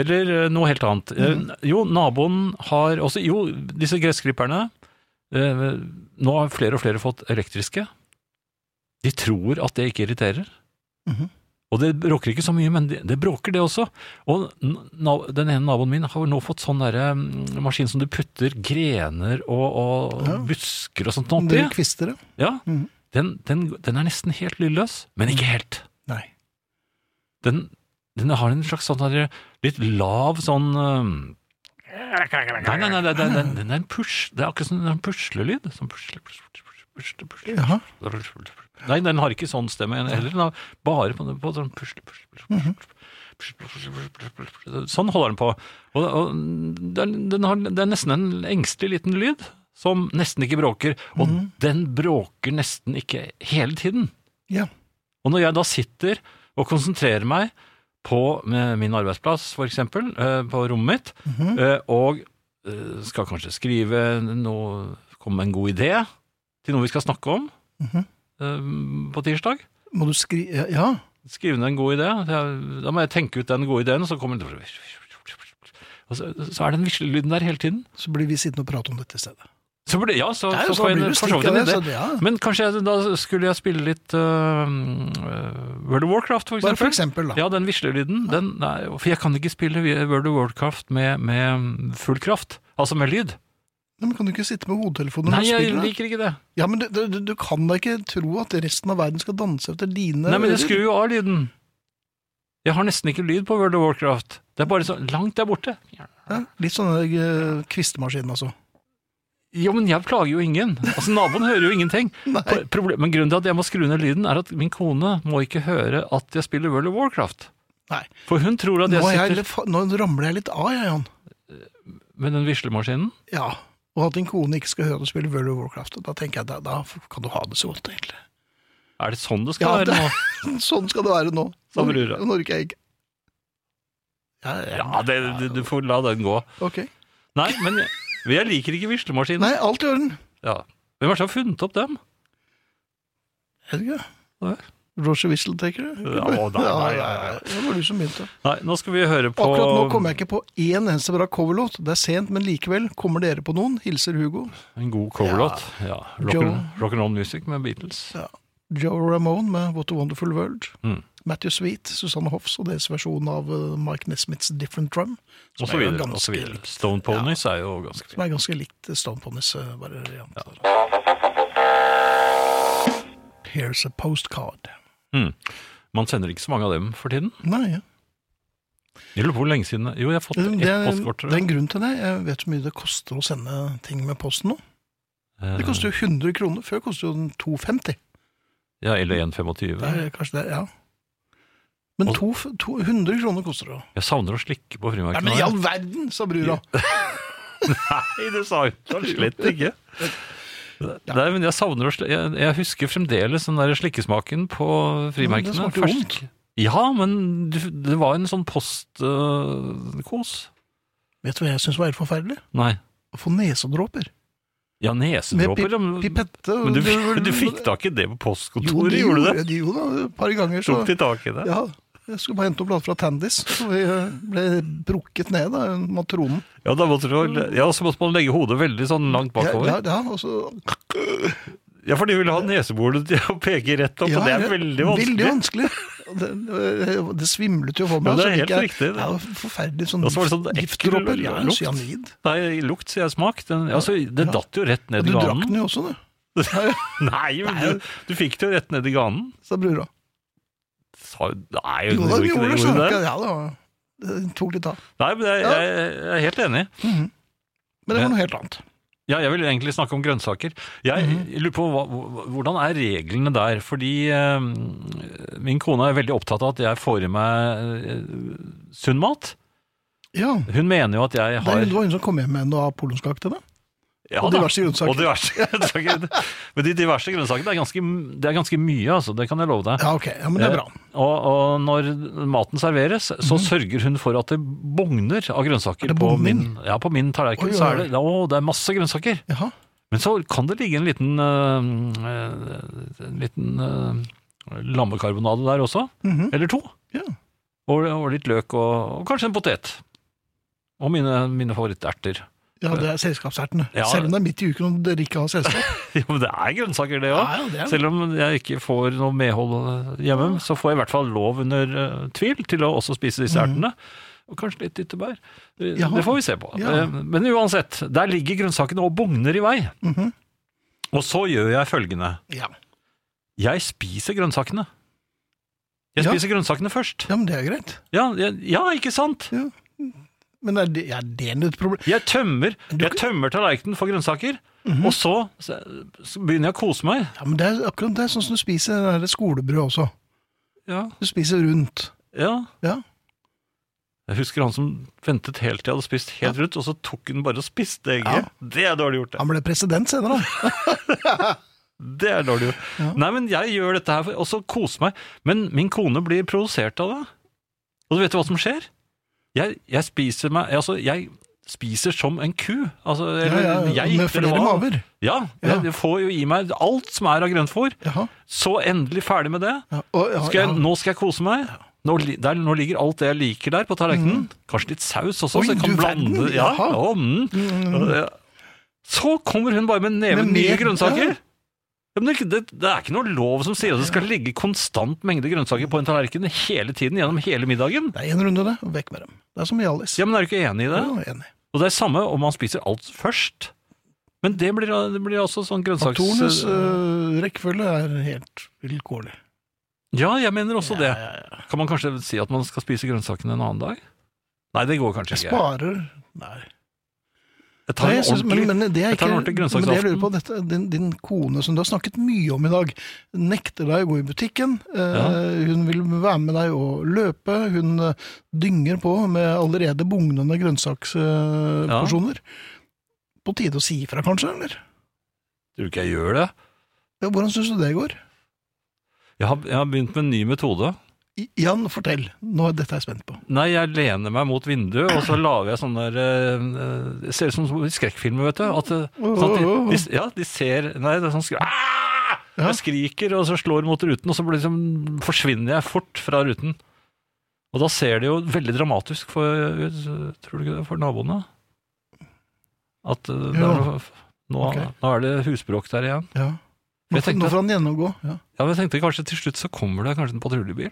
Speaker 3: eller eh, noe helt annet. Eh, Jo, naboen har også Jo, disse gressklipperne eh, Nå har flere og flere fått elektriske. De tror at det ikke irriterer.
Speaker 2: Mhm.
Speaker 3: Og det bråker ikke så mye, men det, det bråker det også. Og n- na- den ene naboen min har nå fått sånn derre mm, maskin som du putter grener og, og
Speaker 2: Ja.
Speaker 3: busker og sånt
Speaker 2: Om
Speaker 3: oppi.
Speaker 2: dere kvister det?
Speaker 3: Ja,
Speaker 2: Mhm.
Speaker 3: den, den, den er nesten helt lydløs, men ikke helt
Speaker 2: Nei.
Speaker 3: den, den har en slags sånn der, litt lav sånn øhm, Nei, nei, nei, nei, nei, den, den er en push. Det er akkurat som en puslelyd. Sånn pusle, pusle, pusle, pusle,
Speaker 2: Jaha.
Speaker 3: pusle. Nei, den har ikke sånn stemme heller. Den har bare på, på sånn pusle, pusle, pusle, pusle, pusle, pusle, pusle, pusle. Sånn holder den på. Og, og den, den har, det er nesten en engstelig liten lyd som nesten ikke bråker. Og den bråker nesten ikke hele tiden.
Speaker 2: Ja.
Speaker 3: Og når jeg da sitter og konsentrerer meg på eh, min arbeidsplass, for eksempel, eh, på rommet mitt,
Speaker 2: Mhm.
Speaker 3: eh, og eh, skal kanskje skrive noe, komme med en god idé til noe vi skal snakke om
Speaker 2: Mhm.
Speaker 3: eh, på tirsdag.
Speaker 2: Må du skri... Ja.
Speaker 3: Skrive ned en god idé. Jeg- Da må jeg tenke ut den gode ideen, og så kommer det og så, så er det den vislelyden der hele tiden.
Speaker 2: Så blir vi sittende og prate om dette i stedet.
Speaker 3: Så blir det, ja, så,
Speaker 2: Det er jo
Speaker 3: så
Speaker 2: sånn
Speaker 3: får jeg
Speaker 2: blir
Speaker 3: en-
Speaker 2: det
Speaker 3: for så vidt en
Speaker 2: stikk av
Speaker 3: idé.
Speaker 2: det, så det, ja.
Speaker 3: Men kanskje jeg, da skulle jeg spille litt eh, eh, World of Warcraft, for
Speaker 2: Bare
Speaker 3: eksempel.
Speaker 2: for eksempel, da.
Speaker 3: Ja, den vislelyden. Den, nei, for jeg kan ikke spille World of Warcraft med, med full kraft. Altså med lyd.
Speaker 2: Men kan du ikke sitte med hodetelefoner
Speaker 3: Nei,
Speaker 2: og
Speaker 3: jeg
Speaker 2: spille? det?
Speaker 3: liker ikke det.
Speaker 2: Ja, men du, du, du- du kan da ikke tro at resten av verden skal danse etter dine
Speaker 3: Nei, men jeg
Speaker 2: ører?
Speaker 3: skrur jo av lyden. Jeg har nesten ikke lyd på World of Warcraft. Det er bare så langt der borte.
Speaker 2: Ja, litt sånne eh, kvistemaskinen, altså.
Speaker 3: Jo, men jeg plager jo ingen. Altså, Naboen hører jo ingenting.
Speaker 2: Nei.
Speaker 3: Problem, men grunnen til at jeg må skru ned lyden, er at min kone må ikke høre at jeg spiller World of Warcraft.
Speaker 2: Nei.
Speaker 3: For hun tror at
Speaker 2: Nå,
Speaker 3: jeg
Speaker 2: er jeg,
Speaker 3: sitter
Speaker 2: litt fa- nå ramler jeg litt av, jeg, Jan.
Speaker 3: med den vislemaskinen.
Speaker 2: Ja. Og at din kone ikke skal høre deg spille World of Warcraft. Da tenker jeg, da, da kan du ha det så godt, egentlig.
Speaker 3: Er det sånn det skal
Speaker 2: Ja,
Speaker 3: være
Speaker 2: det-
Speaker 3: nå?
Speaker 2: Sånn skal det være nå.
Speaker 3: Sa brura.
Speaker 2: Norge er ikke ja,
Speaker 3: Ja, det, du, du får la den gå.
Speaker 2: Ok.
Speaker 3: Nei, men jeg, jeg liker ikke vislemaskinen.
Speaker 2: Nei, alt i orden.
Speaker 3: Ja. Hvem er det som har funnet opp dem?
Speaker 2: Er det ikke?
Speaker 3: Nei.
Speaker 2: Roger Whistletaker?
Speaker 3: Ja, å, nei, nei, nei, nei.
Speaker 2: Det var du som begynte.
Speaker 3: Nei, nå skal vi høre på
Speaker 2: Akkurat nå kommer jeg ikke på én eneste bra coverlåt. Det er sent, men likevel. Kommer dere på noen? Hilser Hugo.
Speaker 3: en god coverlåt. Ja. Rock,
Speaker 2: Joe.
Speaker 3: and, rock and roll music med Beatles.
Speaker 2: Joe Ramone med What a Wonderful World.
Speaker 3: Mm.
Speaker 2: Matthew Sweet, Susanne Hoffs og deres versjon av eh, Mike Nesmiths Different Drum.
Speaker 3: Og så
Speaker 2: er jo
Speaker 3: videre.
Speaker 2: ganske
Speaker 3: Og så videre.
Speaker 2: likt.
Speaker 3: Stone Ponies er jo ganske
Speaker 2: Som
Speaker 3: fint.
Speaker 2: er ganske likt Stone Ponies eh, variant. Here's a postcard.
Speaker 3: Mm. Man sender ikke så mange av dem for tiden.
Speaker 2: Nei, ja.
Speaker 3: Jeg lurer på hvor lenge siden Jo, jeg har fått
Speaker 2: det,
Speaker 3: ett
Speaker 2: det, er-
Speaker 3: postkort. tror
Speaker 2: det er
Speaker 3: jeg.
Speaker 2: en grunn til det. Jeg vet hvor mye det koster å sende ting med posten nå. Det
Speaker 3: Eh,
Speaker 2: koster jo 100 kroner. Før kostet jo den 250.
Speaker 3: Eh, Ja, eller 1,25.
Speaker 2: Det er kanskje det, ja. Men
Speaker 3: Og-
Speaker 2: to, to, 100 kroner koster det.
Speaker 3: Jeg savner å slikke på
Speaker 2: Nei,
Speaker 3: frimerkene.
Speaker 2: men i all verden, sa brura.
Speaker 3: Nei, det sa hun slett ikke. Nei, men jeg savner å sli... Jeg, jeg husker fremdeles den der slikkesmaken på frimerkene.
Speaker 2: det smakte jo
Speaker 3: Fersk-
Speaker 2: vondt.
Speaker 3: Ja, men du, det var en sånn postkos.
Speaker 2: Vet du hva jeg syns var helt forferdelig?
Speaker 3: Nei.
Speaker 2: Å få nesedråper.
Speaker 3: Ja,
Speaker 2: Med
Speaker 3: nesedråper. ja, men-
Speaker 2: pip pipette. og-
Speaker 3: Men du, du fikk da ikke det
Speaker 2: Jo,
Speaker 3: på postkontoret,
Speaker 2: de
Speaker 3: gjorde du det?
Speaker 2: gjorde, de gjorde det et par ganger. Så,
Speaker 3: Tok de tak i det?
Speaker 2: ja, jeg skulle bare hente opp bladet fra Tandis, så vi eh, ble brukket ned av en matronen.
Speaker 3: Ja, da måtte du, ja, så måtte man legge hodet veldig sånn langt
Speaker 2: Ja,
Speaker 3: bakover.
Speaker 2: ja, altså, og så-
Speaker 3: Ja, for de ville ha nesebordet til å peke rett opp,
Speaker 2: ja,
Speaker 3: og det er
Speaker 2: ja,
Speaker 3: veldig vanskelig.
Speaker 2: Veldig vanskelig. det, det svimlet jo for meg.
Speaker 3: Ja, det
Speaker 2: så
Speaker 3: er
Speaker 2: fikk
Speaker 3: helt
Speaker 2: jeg-
Speaker 3: riktig, det.
Speaker 2: Ja, det var forferdelig sånn,
Speaker 3: Og så var det sånn ekkel
Speaker 2: giftdråper. Ja,
Speaker 3: lukt.
Speaker 2: cyanid.
Speaker 3: Nei, lukt, sier jeg smak. Den, altså,
Speaker 2: Ja.
Speaker 3: det datt jo rett
Speaker 2: Ja,
Speaker 3: ned
Speaker 2: du
Speaker 3: i
Speaker 2: drakk
Speaker 3: ganen.
Speaker 2: den jo også, du,
Speaker 3: Nei, men du, du fikk det jo rett ned i ganen.
Speaker 2: sa brura.
Speaker 3: Sa, nei,
Speaker 2: Jo
Speaker 3: gjorde
Speaker 2: da, vi gjorde
Speaker 3: du ikke det?
Speaker 2: det.
Speaker 3: Gjorde du
Speaker 2: skjønner
Speaker 3: det?
Speaker 2: du. Ja, det var, det tok litt av.
Speaker 3: Nei, men jeg,
Speaker 2: Ja.
Speaker 3: jeg, jeg er helt enig.
Speaker 2: Mhm. Men det
Speaker 3: Ja.
Speaker 2: var noe helt annet.
Speaker 3: Ja, jeg vil egentlig snakke om grønnsaker. Jeg
Speaker 2: Mhm.
Speaker 3: lurer på hva, hva- Hvordan er reglene der? Fordi eh, min kone er veldig opptatt av at jeg får i meg eh, sunn mat.
Speaker 2: Ja,
Speaker 3: Hun mener jo at jeg
Speaker 2: det, er,
Speaker 3: har
Speaker 2: det var hun som kom hjem med noe apolonskake til deg.
Speaker 3: Ja
Speaker 2: og
Speaker 3: da.
Speaker 2: diverse grønnsaker.
Speaker 3: Og diverse grønnsaker. Men de diverse grønnsakene, det er ganske, det er ganske mye, altså. Det kan jeg love deg.
Speaker 2: Ja, ok. Ja, men det er bra.
Speaker 3: Eh,
Speaker 2: Mhm.
Speaker 3: Og, og når maten serveres, så sørger hun for at det bugner av grønnsaker.
Speaker 2: Er det
Speaker 3: på
Speaker 2: bugner?
Speaker 3: min, ja, på min
Speaker 2: Oi,
Speaker 3: tallerken
Speaker 2: oi,
Speaker 3: så er
Speaker 2: oi.
Speaker 3: det, å, det er masse grønnsaker.
Speaker 2: Jaha.
Speaker 3: Men så kan det ligge en liten, øh, øh, en liten øh, lammekarbonade der også.
Speaker 2: Mhm.
Speaker 3: Eller to.
Speaker 2: Ja.
Speaker 3: Og, og litt løk og, og kanskje en potet. Og mine, mine favoritterter.
Speaker 2: ja, det er selskapsertene.
Speaker 3: Ja.
Speaker 2: Selv om det er midt i uken og dere ikke har selskap.
Speaker 3: Jo, men det er grønnsaker, det
Speaker 2: Ja, ja, Ah.
Speaker 3: òg.
Speaker 2: det er det.
Speaker 3: Selv om jeg ikke får noe medhold hjemme, så får jeg i hvert fall lov under eh, tvil til å også spise disse ertene. Og kanskje litt dyttebær. Eh,
Speaker 2: Mm. Ja.
Speaker 3: Det får vi se på.
Speaker 2: Ja.
Speaker 3: Eh, Men uansett, der ligger grønnsakene og bugner i vei.
Speaker 2: Mhm.
Speaker 3: Og så gjør jeg følgende.
Speaker 2: Ja.
Speaker 3: Jeg spiser grønnsakene. Jeg
Speaker 2: Ja.
Speaker 3: spiser grønnsakene først.
Speaker 2: ja, men det er greit.
Speaker 3: Ja, ja, ja ikke sant?
Speaker 2: Men er det, er det et problem?
Speaker 3: Jeg tømmer,
Speaker 2: Du kan-
Speaker 3: jeg
Speaker 2: Mm-hmm.
Speaker 3: tømmer tallerkenen for grønnsaker, og så, så så begynner jeg å kose meg.
Speaker 2: Ja, men det er akkurat det, sånn som du spiser det der skolebrød også.
Speaker 3: Ja,
Speaker 2: Du spiser rundt.
Speaker 3: ja.
Speaker 2: Ja.
Speaker 3: Jeg husker han som ventet helt til jeg hadde spist helt rundt, og så tok han bare og spiste egget. Det er dårlig gjort,
Speaker 2: Han ble president senere.
Speaker 3: det. Det er dårlig gjort. Nei, men jeg gjør dette her, for- og så koser meg. Men min kone blir provosert av det. Og du vet hva som skjer? Jeg, jeg spiser meg Altså, jeg spiser som en ku. Altså, eller, jeg,
Speaker 2: Med
Speaker 3: eller
Speaker 2: flere
Speaker 3: hva?
Speaker 2: maver.
Speaker 3: Ja.
Speaker 2: Ja.
Speaker 3: Jeg, får jo i meg alt som er av grøntfôr.
Speaker 2: Jaha.
Speaker 3: Så endelig ferdig med det.
Speaker 2: Ja, og, ja,
Speaker 3: Skal jeg,
Speaker 2: ja.
Speaker 3: Nå skal jeg kose meg. Nå, li- der, nå ligger alt det jeg liker der på tallerkenen. Kanskje litt saus
Speaker 2: Mm.
Speaker 3: også,
Speaker 2: Oi,
Speaker 3: så jeg
Speaker 2: du
Speaker 3: kan
Speaker 2: verden,
Speaker 3: blande ja,
Speaker 2: jaha.
Speaker 3: å, mm. Ja. Så kommer hun bare med neven
Speaker 2: Med
Speaker 3: nye
Speaker 2: mer-
Speaker 3: grønnsaker.
Speaker 2: ja.
Speaker 3: Ja, men det, er ikke- det, det er ikke noe lov som sier at det skal ligge konstant mengde grønnsaker på en tallerken hele tiden gjennom hele middagen.
Speaker 2: Det er én runde, det. og Vekk med dem. Det er som i Alice.
Speaker 3: Ja, men Er du ikke enig i det?
Speaker 2: Ja, enig.
Speaker 3: Og det er samme om man spiser alt først. Men det blir, det blir også sånn grønnsaks...
Speaker 2: Faktorenes øh, rekkefølge er helt vilkårlig.
Speaker 3: Ja, jeg mener også det. Kan man kanskje si at man skal spise grønnsakene en annen dag? Nei, det går kanskje
Speaker 2: Jeg
Speaker 3: ikke.
Speaker 2: sparer Nei.
Speaker 3: Jeg
Speaker 2: Nei,
Speaker 3: tar
Speaker 2: jeg
Speaker 3: en
Speaker 2: synes, men,
Speaker 3: ordentlig
Speaker 2: men det er
Speaker 3: jeg tar
Speaker 2: ikke,
Speaker 3: en
Speaker 2: men
Speaker 3: ordentlig
Speaker 2: det jeg lurer på,
Speaker 3: grønnsaksaften.
Speaker 2: dette, din, din kone som du har snakket mye om i dag, nekter deg å gå i butikken. Eh, Hun vil være med deg og løpe. Hun eh, dynger på med allerede bugnende
Speaker 3: Ja.
Speaker 2: grønnsaksporsjoner. På tide å si ifra, kanskje? eller?
Speaker 3: Tror du ikke jeg gjør det?
Speaker 2: Ja, hvordan syns du det går?
Speaker 3: Jeg har, jeg har begynt med en ny metode.
Speaker 2: I- Jan, fortell. Nå, dette er jeg spent på.
Speaker 3: Nei, jeg lener meg mot vinduet, og så lager jeg sånn der eh, eh, Det ser ut som i skrekkfilmer, vet du. At, eh, sånn at de, de, ja, de ser Nei, det er sånn skri, ah!
Speaker 2: Ja.
Speaker 3: Jeg skriker, og så slår mot ruten, og så blir det liksom, forsvinner jeg fort fra ruten. Og da ser det jo veldig dramatisk for eh, Tror du ikke det? For naboene? At eh, det er,
Speaker 2: Jo.
Speaker 3: noe- nå,
Speaker 2: Ok.
Speaker 3: nå er det husbråk der igjen.
Speaker 2: Ja.
Speaker 3: Jeg
Speaker 2: Nå, får-
Speaker 3: tenkte-
Speaker 2: nå får han gjennomgå. Ja.
Speaker 3: Ja, men jeg tenkte kanskje til slutt så kommer det kanskje en patruljebil.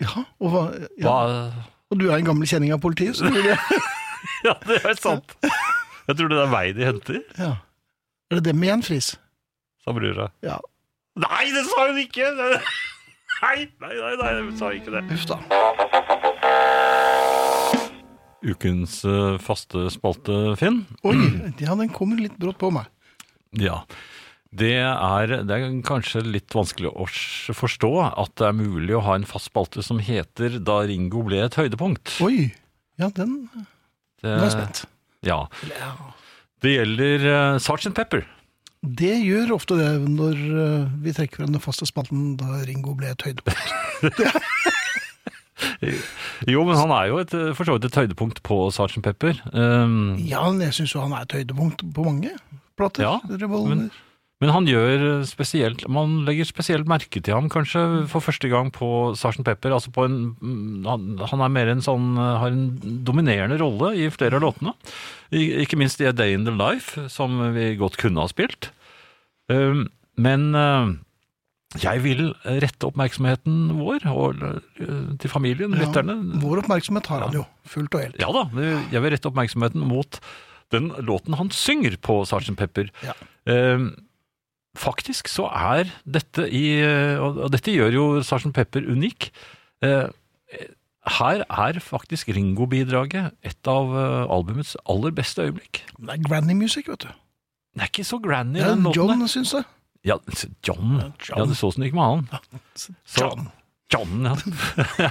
Speaker 2: ja, og, hva, ja.
Speaker 3: Hva-
Speaker 2: og du er en gammel kjenning av politiet, så du vil
Speaker 3: Ja, det er sant. Jeg tror det er vei de henter,
Speaker 2: ja. Er det dem igjen, Friis?
Speaker 3: sa brura.
Speaker 2: Ja.
Speaker 3: Nei, det sa hun ikke! Nei, nei, nei, nei hun sa ikke det.
Speaker 2: Uff da.
Speaker 3: Ukens eh, faste spalte, Finn.
Speaker 2: Oi, ja, den kommer litt brått på meg.
Speaker 3: Ja. Det er, det er kanskje litt vanskelig å s- forstå at det er mulig å ha en fast spalte som heter 'Da Ringo ble et høydepunkt'.
Speaker 2: Oi, ja, den
Speaker 3: Det,
Speaker 2: Nå er jeg
Speaker 3: Eh.
Speaker 2: spent.
Speaker 3: Ja. Det gjelder uh, Sergeant Pepper.
Speaker 2: Det gjør ofte det når eh, vi trekker frem den faste spalten da Ringo ble et høydepunkt.
Speaker 3: Jo, men han er jo et, eh, for så vidt et høydepunkt på Sergeant Pepper. Um,
Speaker 2: Ja, men jeg syns jo han er et høydepunkt på mange plater.
Speaker 3: Ja,
Speaker 2: Revolver.
Speaker 3: men- Men han gjør spesielt Man legger spesielt merke til ham, kanskje, for første gang på Sarsen Pepper. Altså på en, mm, han, han er mer en sånn Har en dominerende rolle i flere av låtene. I, ikke minst i A Day In The Life, som vi godt kunne ha spilt. Um, men eh, Jeg vil rette oppmerksomheten vår og, eh, til familien,
Speaker 2: Ja,
Speaker 3: lytterne.
Speaker 2: Vår oppmerksomhet har han jo, fullt og helt.
Speaker 3: Ja da, men jeg vil rette oppmerksomheten mot den låten han synger på Sgt. Pepper.
Speaker 2: Ja.
Speaker 3: Eh, faktisk så er dette i eh, Og og dette gjør jo Sgt. Pepper unik. Eh, her er faktisk Ringo-bidraget et av eh, albumets aller beste øyeblikk.
Speaker 2: Men Det er granny music, vet du.
Speaker 3: Den er ikke så granny,
Speaker 2: Det er
Speaker 3: den låten.
Speaker 2: John,
Speaker 3: der.
Speaker 2: syns jeg.
Speaker 3: Ja, John.
Speaker 2: John.
Speaker 3: Ja, det så som det gikk med han. Så-
Speaker 2: John.
Speaker 3: John, ja.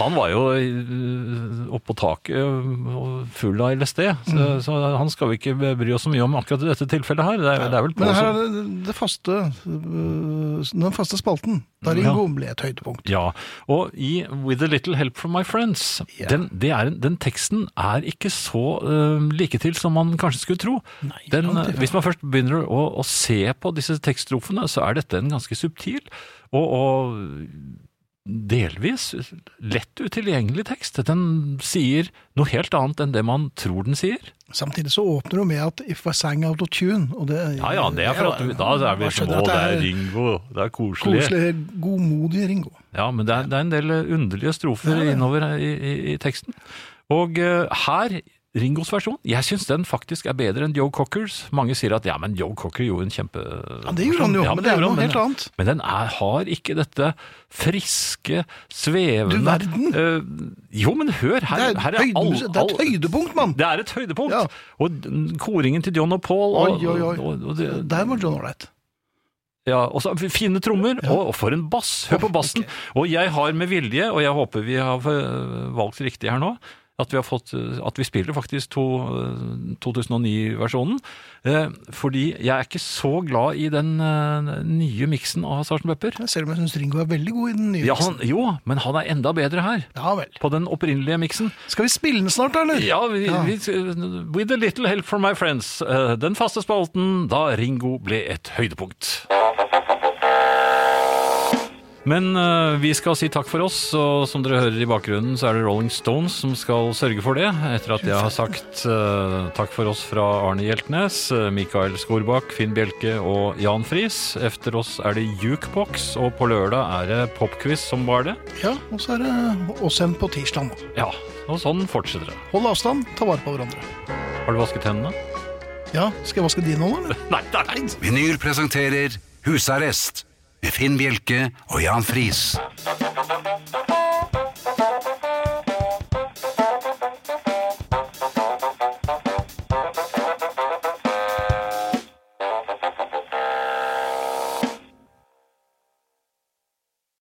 Speaker 3: Han var jo eh, oppå taket eh, og full av LSD, så,
Speaker 2: Mm.
Speaker 3: så han skal vi ikke bry oss så mye om akkurat i dette tilfellet her. Det er, det er vel på
Speaker 2: Men her
Speaker 3: som-
Speaker 2: er det, det faste, øh, den faste spalten. Da Ringo ble et høydepunkt.
Speaker 3: Ja, og i With a Little Help From My Friends,
Speaker 2: Ja.
Speaker 3: den, det er, en- den teksten er ikke så eh, like til som man kanskje skulle tro. den,
Speaker 2: langt ifra.
Speaker 3: hvis man først begynner å, å se på disse tekststrofene, så er dette en ganske subtil og, og delvis lett utilgjengelig tekst. Den sier noe helt annet enn det man tror den sier.
Speaker 2: Samtidig så åpner hun med at If I sang out of tune, og det
Speaker 3: Ja ja, det er for at vi- da er vi
Speaker 2: Jeg
Speaker 3: som
Speaker 2: skjønner
Speaker 3: Å,
Speaker 2: at
Speaker 3: det er
Speaker 2: det er
Speaker 3: Ringo, det er koselig.
Speaker 2: koselig, godmodig Ringo.
Speaker 3: Ja, men det er, det er en del eh, underlige strofer innover i, i, i teksten. Og eh, her, Ringos versjon, jeg syns den faktisk er bedre enn Joe Cockers. Mange sier at ja, men Joe Cocker gjorde en kjempe...
Speaker 2: Ja, det gjorde han jo, men det er
Speaker 3: gjorde
Speaker 2: noe
Speaker 3: han,
Speaker 2: helt annet.
Speaker 3: Men den er, har ikke dette friske, svevende
Speaker 2: Du verden.
Speaker 3: eh, jo, men hør, her,
Speaker 2: Det er,
Speaker 3: her
Speaker 2: høyde,
Speaker 3: all-
Speaker 2: det er et
Speaker 3: all-
Speaker 2: høydepunkt, mann!
Speaker 3: Det er et høydepunkt!
Speaker 2: Ja.
Speaker 3: Og den koringen til John og Paul og,
Speaker 2: Oi, oi, oi.
Speaker 3: Og, og, det,
Speaker 2: Der var John Ålreit.
Speaker 3: ja, og så Fine trommer, og, og for en bass! Hør på bassen! Og jeg har med vilje, og jeg håper vi har øh, valgt riktig her nå, at vi, har fått, øh, at vi spiller faktisk to, øh, 2009-versjonen. Eh, fordi jeg er ikke så glad i den øh, nye miksen av Sgt. Pepper.
Speaker 2: Selv om jeg syns Ringo er veldig god i den nye.
Speaker 3: Ja,
Speaker 2: teksten.
Speaker 3: han, jo, men han er enda bedre her.
Speaker 2: ja vel.
Speaker 3: På den opprinnelige miksen.
Speaker 2: Skal vi spille den snart, eller?
Speaker 3: Ja, vi,
Speaker 2: Ja.
Speaker 3: vi, With a little help from my friends. eh, Den faste spalten da Ringo ble et høydepunkt. Men eh, vi skal si takk for oss, og som dere hører i bakgrunnen, så er det Rolling Stones som skal sørge for det, etter at jeg har sagt eh, takk for oss fra Arne Hjeltnes, eh, Mikael Skorbakk, Finn Bjelke og Jan Friis. Efter oss er det Jukebox, og på lørdag er det Popquiz som var det.
Speaker 2: Ja, og så er det oss igjen på tirsdag nå.
Speaker 3: Ja, og sånn fortsetter det.
Speaker 2: Hold avstand, ta vare på hverandre.
Speaker 3: Har du vasket hendene?
Speaker 2: Ja, skal jeg vaske dine nå, eller?
Speaker 3: Nei, nei, nei.
Speaker 1: Vinyl presenterer Husarrest med Finn Bjelke og Jan Friis.